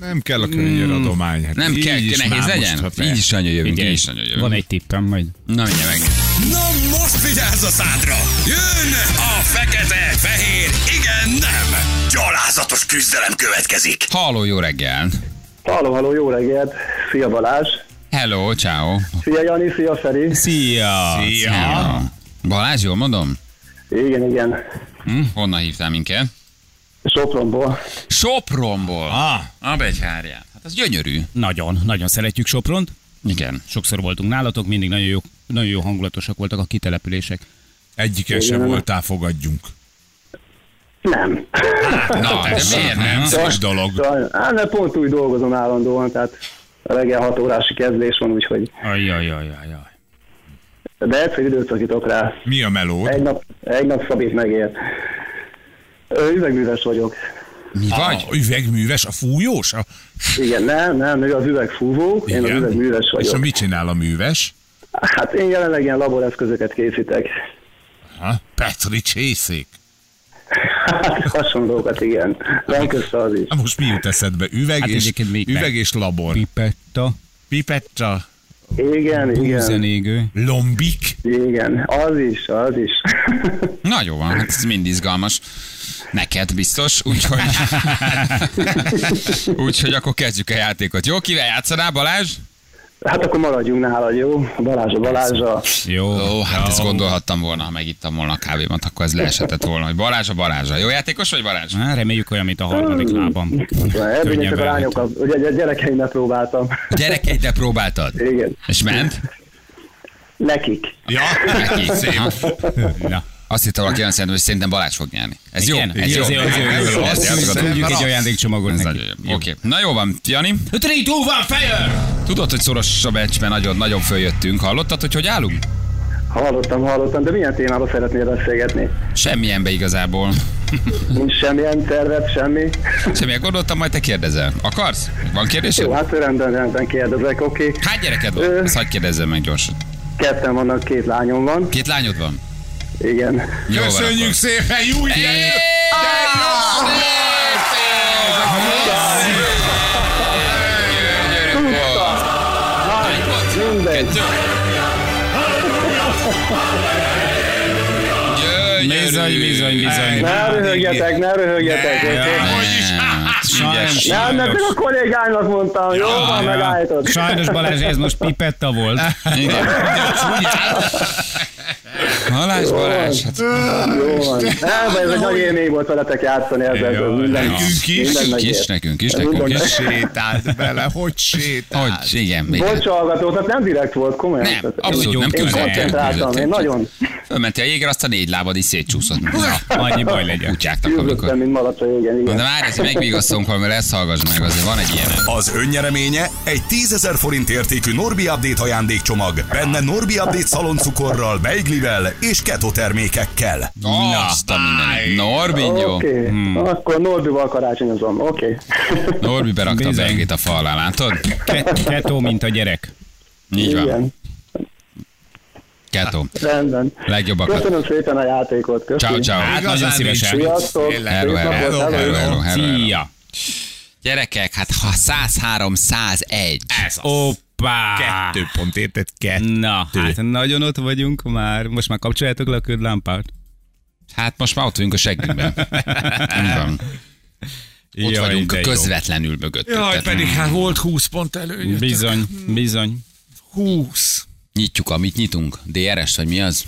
[SPEAKER 4] Nem kell a könnyű adomány. Hát
[SPEAKER 2] Mm. Nem
[SPEAKER 4] így
[SPEAKER 2] kell,
[SPEAKER 4] is
[SPEAKER 2] nehéz
[SPEAKER 4] már
[SPEAKER 2] legyen?
[SPEAKER 4] most, hát ha
[SPEAKER 2] így is nagyon jövünk,
[SPEAKER 3] Figyelj,
[SPEAKER 2] így is nagyon jövünk.
[SPEAKER 3] Van egy tippem majd.
[SPEAKER 2] Na, mindjárt meg.
[SPEAKER 1] Na most vigyázz a szádra! Jön a fekete, fehér, igen, nem! Gyalázatos küzdelem következik!
[SPEAKER 2] Halló, jó reggel!
[SPEAKER 8] Halló, halló, jó reggelt! Szia Balázs!
[SPEAKER 2] Hello, ciao.
[SPEAKER 8] Szia Jani, szia Feri!
[SPEAKER 3] Szia!
[SPEAKER 2] Ja. Balázs, jól mondom?
[SPEAKER 8] Igen, igen.
[SPEAKER 2] Hm? Honnan hívtál minket?
[SPEAKER 8] Sopronból.
[SPEAKER 2] Sopronból. Ah. A begyhárján. Hát az gyönyörű.
[SPEAKER 3] Nagyon, nagyon szeretjük Sopront.
[SPEAKER 2] Igen.
[SPEAKER 3] Sokszor voltunk nálatok, mindig nagyon jó, nagyon jó hangulatosak voltak a kitelepülések.
[SPEAKER 4] Egyiken sem voltál, fogadjunk.
[SPEAKER 8] Nem.
[SPEAKER 2] Na, de miért nem?
[SPEAKER 4] Szép dolog.
[SPEAKER 8] Sajnos. Hát, mert pont úgy dolgozom állandóan, tehát reggel 6 órási kezdés van, úgyhogy...
[SPEAKER 3] Ajajajajaj.
[SPEAKER 8] De egyszer időt szakítok rá.
[SPEAKER 4] Mi a meló?
[SPEAKER 8] Egy nap, egy nap szabít megér. Ö, Üvegműves vagyok.
[SPEAKER 2] Mi vagy?
[SPEAKER 4] A üvegműves, a fújós? A...
[SPEAKER 8] Igen, nem, nem, ő az üvegfúvó, én az üvegműves
[SPEAKER 4] És a
[SPEAKER 8] vagyok.
[SPEAKER 4] mit csinál a műves?
[SPEAKER 8] Hát én jelenleg ilyen laboreszközöket készítek.
[SPEAKER 4] Ha? Petri csészék.
[SPEAKER 8] Hát hasonlókat, igen. Van közte az is.
[SPEAKER 4] Na most mi jut eszedbe? Üveg,
[SPEAKER 3] Hát
[SPEAKER 4] és,
[SPEAKER 3] egyébként még
[SPEAKER 4] üveg
[SPEAKER 3] meg.
[SPEAKER 4] és labor.
[SPEAKER 3] Pipetta,
[SPEAKER 4] Pipetta,
[SPEAKER 8] Igen, igen,
[SPEAKER 3] búzenégő.
[SPEAKER 4] lombik.
[SPEAKER 8] igen. Az is, az is.
[SPEAKER 2] Na jó van, hát ez mind izgalmas. Neked biztos, úgyhogy... úgyhogy akkor kezdjük a játékot. Jó, kivel játszanál, Balázs?
[SPEAKER 8] Hát akkor maradjunk nálad, jó? Balázs a Balázs a...
[SPEAKER 3] Jó.
[SPEAKER 2] Ó, hát ezt gondolhattam volna, ha megittam volna a kávémat, akkor ez leeshetett volna, hogy Balázs a Balázsa. Jó játékos vagy Balázs?
[SPEAKER 3] Hát reméljük olyan, mint a harmadik lábam.
[SPEAKER 8] Ebből
[SPEAKER 3] Könnyebb
[SPEAKER 8] csak a
[SPEAKER 3] elhagyta.
[SPEAKER 8] lányokat, ugye a gyerekeimet próbáltam.
[SPEAKER 2] A gyerekeiddel próbáltad?
[SPEAKER 8] Igen.
[SPEAKER 2] És ment?
[SPEAKER 8] Nekik.
[SPEAKER 4] Ja,
[SPEAKER 2] Neki. Aha.
[SPEAKER 3] Na.
[SPEAKER 2] Azt hittem valaki olyan szerintem, hogy szerintem Balázs fog nyerni. Ez jó.
[SPEAKER 3] Igen,
[SPEAKER 2] Ez jó.
[SPEAKER 3] ez jó, ez jó, ez jó.
[SPEAKER 2] Ez jó.
[SPEAKER 4] Azt
[SPEAKER 2] elfogadom.
[SPEAKER 3] Küldjük egy
[SPEAKER 4] Rossz.
[SPEAKER 3] ajándékcsomagot
[SPEAKER 2] Ez
[SPEAKER 3] neki.
[SPEAKER 2] nagyon jó. Oké. Na jó van, Jani.
[SPEAKER 3] 3, 2, 1, fire!
[SPEAKER 2] Tudod, hogy szoros a meccsben nagyon, nagyon följöttünk. Hallottad, hogy hogy állunk?
[SPEAKER 8] Hallottam, hallottam, de milyen témába szeretnél beszélgetni?
[SPEAKER 2] Semmilyenbe igazából.
[SPEAKER 8] Nincs semmilyen terved, semmi?
[SPEAKER 2] Semmilyen gondoltam, majd te kérdezel. Akarsz? Van
[SPEAKER 8] Jó,
[SPEAKER 2] kérdésed?
[SPEAKER 8] hát rendben, rendben kérdezek, oké.
[SPEAKER 2] Hány gyereked van?
[SPEAKER 8] Ö.
[SPEAKER 2] Ezt hagyd kérdezzem meg gyorsan.
[SPEAKER 8] Ketten vannak, két lányom van.
[SPEAKER 2] Két lányod van?
[SPEAKER 8] Igen.
[SPEAKER 2] Jó van
[SPEAKER 4] köszönjük
[SPEAKER 2] akkor.
[SPEAKER 4] szépen, jó
[SPEAKER 2] Éj!
[SPEAKER 4] idejét!
[SPEAKER 8] Mindegy.
[SPEAKER 3] Bizony, bizony, bizony.
[SPEAKER 8] Ne röhögjetek, ne röhögjetek, oké?
[SPEAKER 2] Ügyes.
[SPEAKER 8] Nem, nem, csak a kollégának mondtam, jó van, megállított.
[SPEAKER 3] Sajnos Balázs, ez most pipetta volt.
[SPEAKER 2] Igen. Balázs, Balázs, hát
[SPEAKER 8] Jó van. Nem, de ez egy nagy élmény volt veletek játszani ezzel.
[SPEAKER 4] Jó,
[SPEAKER 8] minden,
[SPEAKER 4] nekünk is,
[SPEAKER 8] minden
[SPEAKER 2] nekünk is,
[SPEAKER 8] megért.
[SPEAKER 2] nekünk is, nekünk
[SPEAKER 4] Hogy
[SPEAKER 2] is.
[SPEAKER 4] sétált bele, hogy sétált.
[SPEAKER 2] Hogy, igen, igen.
[SPEAKER 8] Bocs, hallgatóknak nem direkt volt, komolyan.
[SPEAKER 2] Nem,
[SPEAKER 8] Tehát én-
[SPEAKER 2] abszolút nem
[SPEAKER 8] Én
[SPEAKER 2] küzdött.
[SPEAKER 8] koncentráltam, én nagyon
[SPEAKER 2] Fölmentél a jégre, azt a négy lábad is szétcsúszott. Na,
[SPEAKER 3] Annyi baj legyen.
[SPEAKER 2] kutyáknak,
[SPEAKER 8] küzdöttem,
[SPEAKER 2] amikor...
[SPEAKER 8] mint malac a jégen,
[SPEAKER 2] De
[SPEAKER 8] igen.
[SPEAKER 2] már ezt megvigasztunk, ha ezt hallgass meg, azért van egy ilyen.
[SPEAKER 1] Az önnyereménye egy 10.000 forint értékű Norbi Update ajándékcsomag. Benne Norbi Update szaloncukorral, beiglivel és keto termékekkel.
[SPEAKER 2] Na, Hm, azt a mindenit. Norbin, jó. Hmm.
[SPEAKER 8] Oké, akkor Norbival karácsonyozom, oké.
[SPEAKER 2] Norbi berakta a
[SPEAKER 3] Bizony.
[SPEAKER 2] belgét a fal alá, látod?
[SPEAKER 3] Ke- Ketó, mint a gyerek.
[SPEAKER 2] Így van.
[SPEAKER 8] Igen,
[SPEAKER 2] Kettő.
[SPEAKER 8] rendben.
[SPEAKER 2] Legjobbakat.
[SPEAKER 8] Köszönöm szépen a játékot,
[SPEAKER 2] Ciao,
[SPEAKER 8] köszönöm.
[SPEAKER 2] ciao.
[SPEAKER 3] Hát nagyon szívesen.
[SPEAKER 8] Sziasztok!
[SPEAKER 2] Hello, hello, hello, hello, hello, hello.
[SPEAKER 3] Szia!
[SPEAKER 2] Gyerekek, hát ha 103, 101. Ez
[SPEAKER 3] Oppá!
[SPEAKER 4] Kettő pont, érted? Kettő.
[SPEAKER 3] Na, hát nagyon ott vagyunk már. Most már kapcsoljátok le a ködlámpát.
[SPEAKER 2] Hát most már ott vagyunk a seggünkben. Így van. Ott
[SPEAKER 3] Jaj,
[SPEAKER 2] vagyunk
[SPEAKER 3] de jó.
[SPEAKER 2] közvetlenül mögöttük.
[SPEAKER 4] Jaj,
[SPEAKER 2] Tehát
[SPEAKER 4] pedig hát volt 20 pont előny.
[SPEAKER 3] Bizony, bizony.
[SPEAKER 4] 20.
[SPEAKER 2] Nyitjuk, amit nyitunk. DRS, vagy mi az?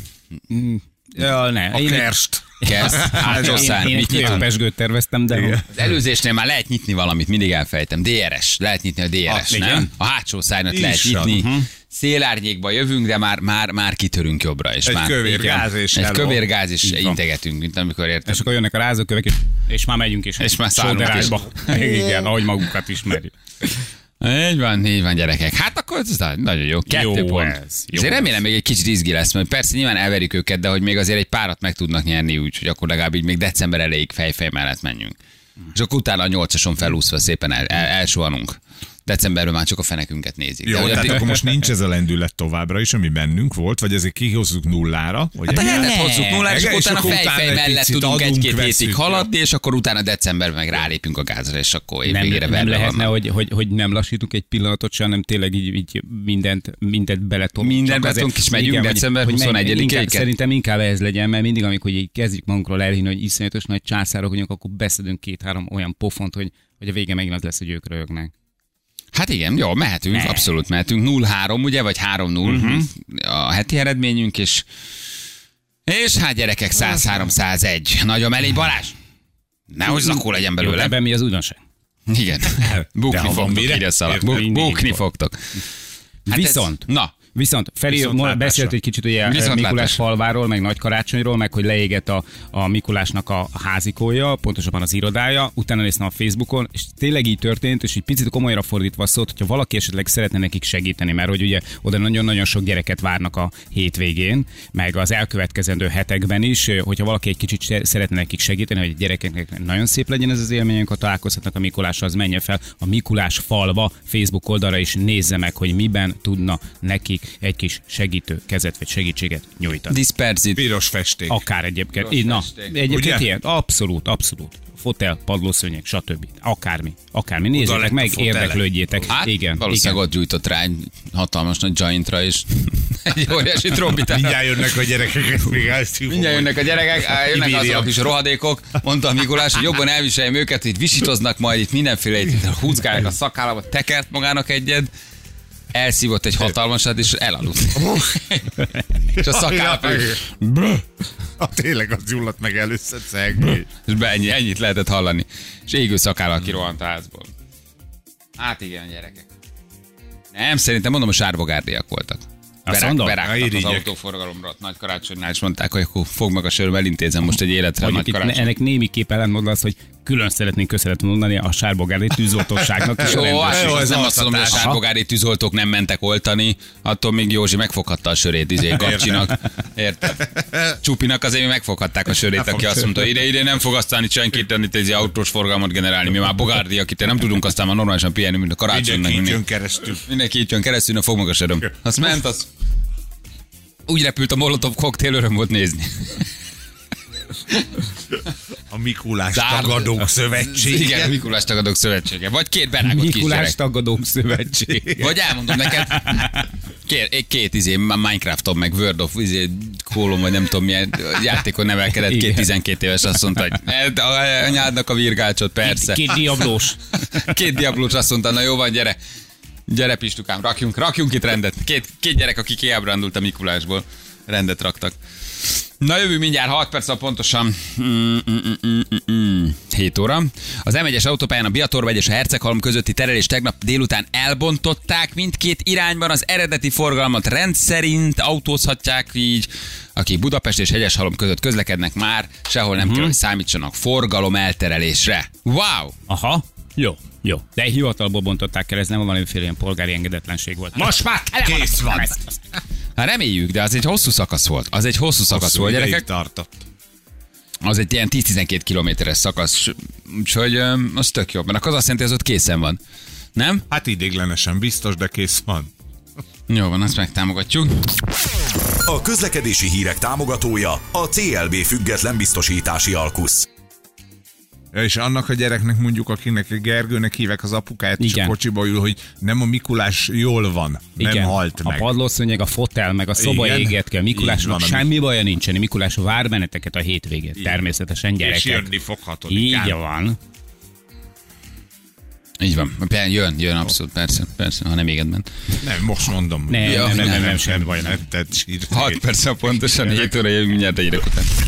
[SPEAKER 3] Ja, ne.
[SPEAKER 4] A
[SPEAKER 3] én-
[SPEAKER 4] kerst.
[SPEAKER 2] Kezd. Hát, Zsosszán,
[SPEAKER 3] Én, én
[SPEAKER 2] mit
[SPEAKER 3] egy
[SPEAKER 2] nyitunk?
[SPEAKER 3] közpesgőt terveztem, de
[SPEAKER 2] Az előzésnél már lehet nyitni valamit, mindig elfejtem. DRS, lehet nyitni a DRS,
[SPEAKER 4] Ah,
[SPEAKER 2] nem?
[SPEAKER 4] igen.
[SPEAKER 2] A hátsó szárnyat lehet
[SPEAKER 4] Is van,
[SPEAKER 2] nyitni.
[SPEAKER 3] Mhm.
[SPEAKER 2] Szélárnyékba jövünk, de már, már, már kitörünk jobbra. És
[SPEAKER 4] Egy
[SPEAKER 2] már,
[SPEAKER 4] kövér
[SPEAKER 2] igen.
[SPEAKER 4] gáz és
[SPEAKER 2] Egy
[SPEAKER 4] hello.
[SPEAKER 2] kövér gáz és
[SPEAKER 3] van.
[SPEAKER 2] integetünk, mint amikor érted.
[SPEAKER 3] és akkor jönnek a rázókövek, és, és már megyünk is.
[SPEAKER 2] És már szállunk is.
[SPEAKER 3] Sóderásba. Igen, ahogy magukat ismerjük.
[SPEAKER 2] Így van, így van, gyerekek. Hát akkor ez na- nagyon jó. Kettő
[SPEAKER 3] Jó
[SPEAKER 2] pont.
[SPEAKER 3] ez, jó
[SPEAKER 2] azért
[SPEAKER 3] ez.
[SPEAKER 2] remélem még egy kicsit izgi lesz, mert persze nyilván elverik őket, de hogy még azért egy párat meg tudnak nyerni, úgyhogy akkor legalább így még december elejéig fejfej mellett menjünk. És akkor utána a nyolcason felúszva szépen el, el, elsuhanunk. Decemberben már csak a fenekünket nézik.
[SPEAKER 4] Jó,
[SPEAKER 2] hogy
[SPEAKER 4] tehát
[SPEAKER 2] addig-
[SPEAKER 4] akkor most nincs ez a lendület továbbra is, ami bennünk volt, vagy ezért kihozzuk nullára. Hogy
[SPEAKER 2] Hát a
[SPEAKER 4] egy-
[SPEAKER 2] hetet
[SPEAKER 7] Ne.
[SPEAKER 2] hozzuk nullára, és,
[SPEAKER 4] Igen,
[SPEAKER 2] akkor
[SPEAKER 4] és
[SPEAKER 2] utána
[SPEAKER 4] akkor
[SPEAKER 2] fejfej
[SPEAKER 4] utána egy
[SPEAKER 2] mellett
[SPEAKER 4] picit
[SPEAKER 2] tudunk
[SPEAKER 4] adunk,
[SPEAKER 2] egy-két hétig
[SPEAKER 4] veszünk, ja.
[SPEAKER 2] haladni, és akkor utána decemberben meg rálépünk a gázra, és akkor
[SPEAKER 3] nem,
[SPEAKER 2] évvégére
[SPEAKER 3] nem
[SPEAKER 2] vele
[SPEAKER 3] lehetne,
[SPEAKER 2] van.
[SPEAKER 3] hogy, hogy, hogy nem lassítunk egy pillanatot se, hanem tényleg így, így mindent, mindent beletolunk.
[SPEAKER 2] Mindent
[SPEAKER 3] Csak azért-
[SPEAKER 2] beletolunk, és megyünk
[SPEAKER 3] hogy-
[SPEAKER 2] december
[SPEAKER 3] hogy menjünk.
[SPEAKER 2] 21-ig.
[SPEAKER 3] Inkább- Szerintem inkább ez legyen, mert mindig, amikor így kezdjük magunkról elhinni, hogy iszonyatos nagy császárok vagyunk, akkor beszedünk két-három olyan pofont, hogy, hogy a vége megint az lesz, hogy ők röhögnek.
[SPEAKER 2] Hát igen, jó, mehetünk, ne. abszolút mehetünk. 0-3, ugye, vagy 3-0 uh-huh. a heti eredményünk, és és hát gyerekek, 103-101. Nagyon elég Balázs. Nehogy zakó legyen
[SPEAKER 3] Jó,
[SPEAKER 2] belőle.
[SPEAKER 3] ebben mi az újdonság?
[SPEAKER 2] Igen. Bukni
[SPEAKER 4] ha van
[SPEAKER 2] fogtok,
[SPEAKER 4] mire.
[SPEAKER 2] írja a szalag.
[SPEAKER 4] Érted?
[SPEAKER 2] Buk-
[SPEAKER 3] Mindig
[SPEAKER 2] Bukni
[SPEAKER 3] van.
[SPEAKER 2] fogtok. Hát
[SPEAKER 3] Viszont.
[SPEAKER 2] Ez, na,
[SPEAKER 3] Viszont Feri
[SPEAKER 4] Viszontlátásra.
[SPEAKER 3] ma beszélt egy kicsit ugye eh,
[SPEAKER 2] Viszontlátásra.
[SPEAKER 3] Mikulás falváról, meg Nagy Karácsonyról, meg hogy leégett a, a Mikulásnak a házikója, pontosabban az irodája, utána néztem a Facebookon, és tényleg így történt, és egy picit komolyra fordítva a szót, hogyha valaki esetleg szeretne nekik segíteni, mert hogy ugye oda nagyon-nagyon sok gyereket várnak a hétvégén, meg az elkövetkezendő hetekben is, hogyha valaki egy kicsit se- szeretne nekik segíteni, hogy a gyerekeknek nagyon szép legyen ez az élményünk, ha találkozhatnak a Mikulással, az menjen fel a Mikulás falva Facebook oldalra, és nézze meg, hogy miben tudna nekik egy kis segítő kezet vagy segítséget nyújtani.
[SPEAKER 2] disperzit.
[SPEAKER 4] Piros festék.
[SPEAKER 3] Akár egyébként. Így, na,
[SPEAKER 2] festék.
[SPEAKER 3] egyébként
[SPEAKER 4] Ugye?
[SPEAKER 3] ilyen. Abszolút, abszolút. Fotel, padlószőnyeg, stb. Akármi. Akármi. Nézzétek
[SPEAKER 4] lett a
[SPEAKER 3] meg,
[SPEAKER 4] fotel.
[SPEAKER 3] érdeklődjétek.
[SPEAKER 2] Hát,
[SPEAKER 3] igen.
[SPEAKER 2] valószínűleg
[SPEAKER 3] igen.
[SPEAKER 2] ott gyújtott rá egy hatalmas nagy giantra, és egy óriási trombitára.
[SPEAKER 4] Mindjárt jönnek a gyerekeket, még ezt hívom.
[SPEAKER 2] Mindjárt jönnek a gyerekek, á, jönnek
[SPEAKER 4] Ibériak.
[SPEAKER 2] azok a kis rohadékok, mondta a Mikulás, hogy jobban elviseljem őket, itt visítoznak majd, itt mindenféle, itt húzgálják a szakállaba, tekert magának egyet, elszívott egy hatalmasat, és elaludt. és a szakállap, és
[SPEAKER 4] A tényleg az gyulladt meg először szegni.
[SPEAKER 2] be ennyi, ennyit lehetett hallani. És égő
[SPEAKER 3] Hmm.
[SPEAKER 2] szakállal kirohant a házból. Hát igen, gyerekek. Nem, szerintem mondom, a sárvogárdiak voltak. Berák,
[SPEAKER 3] mondod?
[SPEAKER 2] berágtak az
[SPEAKER 4] Irigyek.
[SPEAKER 2] autóforgalomra, ott nagy karácsonynál, és mondták, hogy akkor fogd meg a söröm, elintézem most egy életre a
[SPEAKER 3] Mondjuk
[SPEAKER 2] nagy
[SPEAKER 3] itt ne-
[SPEAKER 2] karácsony.
[SPEAKER 3] ennek némiképp ellentmond az, hogy külön szeretnénk köszönet mondani a sárbogári tűzoltóságnak és a
[SPEAKER 2] Jó,
[SPEAKER 3] rendőrségnek.
[SPEAKER 2] hát
[SPEAKER 4] Jó,
[SPEAKER 2] ez
[SPEAKER 4] ez
[SPEAKER 2] nem azt
[SPEAKER 4] altatás.
[SPEAKER 2] mondom, hogy a
[SPEAKER 4] Aha.
[SPEAKER 2] sárbogári tűzoltók nem mentek oltani, attól még Józsi megfoghatta a sörét, izé, kapcsinak. Érted? Csupinak azért mi megfoghatták a sörét, aki azt mondta, ide, ide nem fog aztán itt senkit tenni, ez autós forgalmat generálni, mi már bogárdi, akit nem tudunk aztán már normálisan pihenni, mint a karácsonynak.
[SPEAKER 4] Mindenki így
[SPEAKER 2] mindig.
[SPEAKER 4] jön keresztül.
[SPEAKER 2] Mindenki itt jön keresztül, na fog meg a söröm. Azt ment, az úgy repült a Molotov koktél, öröm volt nézni.
[SPEAKER 4] A Mikulás
[SPEAKER 2] Zárd-
[SPEAKER 4] Tagadók Szövetsége.
[SPEAKER 2] Igen, a Mikulás Tagadók Szövetsége. Vagy két berágott kisgyerek.
[SPEAKER 3] Mikulás Tagadók Szövetség.
[SPEAKER 2] Vagy elmondom neked, két, két izé, Minecrafton, meg World of izé, Call-on, vagy nem tudom milyen játékon nevelkedett, két
[SPEAKER 3] Igen.
[SPEAKER 2] 12 éves azt mondta, hogy "Edd a anyádnak a virgácsot, persze.
[SPEAKER 3] Két diablós.
[SPEAKER 2] Két diablós azt mondta, na jó van, gyere. Gyere Pistukám, rakjunk, rakjunk itt rendet. Két, két gyerek, aki kiábrándult a Mikulásból, rendet raktak. Na jövő mindjárt 6 perc, van pontosan mm, mm, mm, mm, mm, 7 óra. Az M1-es autópályán a Biatorvegy és a Herceghalom közötti terelés tegnap délután elbontották mindkét irányban. Az eredeti forgalmat rendszerint autózhatják így, akik Budapest és Hegyeshalom között közlekednek már, sehol nem
[SPEAKER 3] Mhm.
[SPEAKER 2] kell, hogy számítsanak forgalom elterelésre. Wow!
[SPEAKER 3] Aha. Jó, jó. De hivatalból bontották el, ez nem valamiféle ilyen polgári engedetlenség volt. Most már kész van.
[SPEAKER 2] Hát reméljük, de az egy hosszú szakasz volt. Az egy hosszú szakasz
[SPEAKER 4] Hosszú
[SPEAKER 2] volt,
[SPEAKER 4] ideig
[SPEAKER 2] gyerekek.
[SPEAKER 4] tartott.
[SPEAKER 2] Az egy ilyen 10-12 kilométeres szakasz, s- úgyhogy öm, az tök jó. Mert akkor az azt jelenti, hogy az ott készen van. Nem?
[SPEAKER 4] Hát idéglenesen biztos, de kész van.
[SPEAKER 2] Jó van, azt megtámogatjuk.
[SPEAKER 1] A közlekedési hírek támogatója a CLB független biztosítási alkusz.
[SPEAKER 4] Ja, És annak a gyereknek mondjuk, akinek Gergőnek hívek az apukáját, és
[SPEAKER 3] Igen.
[SPEAKER 4] a kocsiba ül, hogy nem a Mikulás jól van,
[SPEAKER 3] Igen.
[SPEAKER 4] nem halt
[SPEAKER 3] a
[SPEAKER 4] meg.
[SPEAKER 3] padlószőnyeg, a fotel, meg a szoba
[SPEAKER 4] Igen.
[SPEAKER 3] éget kell. Mikulásnak
[SPEAKER 4] Így van, ami-
[SPEAKER 3] semmi baja nincsen. Mikulás vár benneteket a hétvégén. Természetesen gyerekek.
[SPEAKER 4] és jönni fog hatodikán.
[SPEAKER 3] Így van.
[SPEAKER 2] Így van. Pe- Jön, jön, abszolút, persze, persze, ha nem éged ment.
[SPEAKER 4] Nem, most mondom.
[SPEAKER 3] Nem,
[SPEAKER 2] Ja,
[SPEAKER 3] nem, nem, nem,
[SPEAKER 2] nem,
[SPEAKER 3] nem, semmi baj.
[SPEAKER 4] nem, nem, nem,
[SPEAKER 2] 6 perc pontosan, 7 óra jövünk mindjárt egyre után.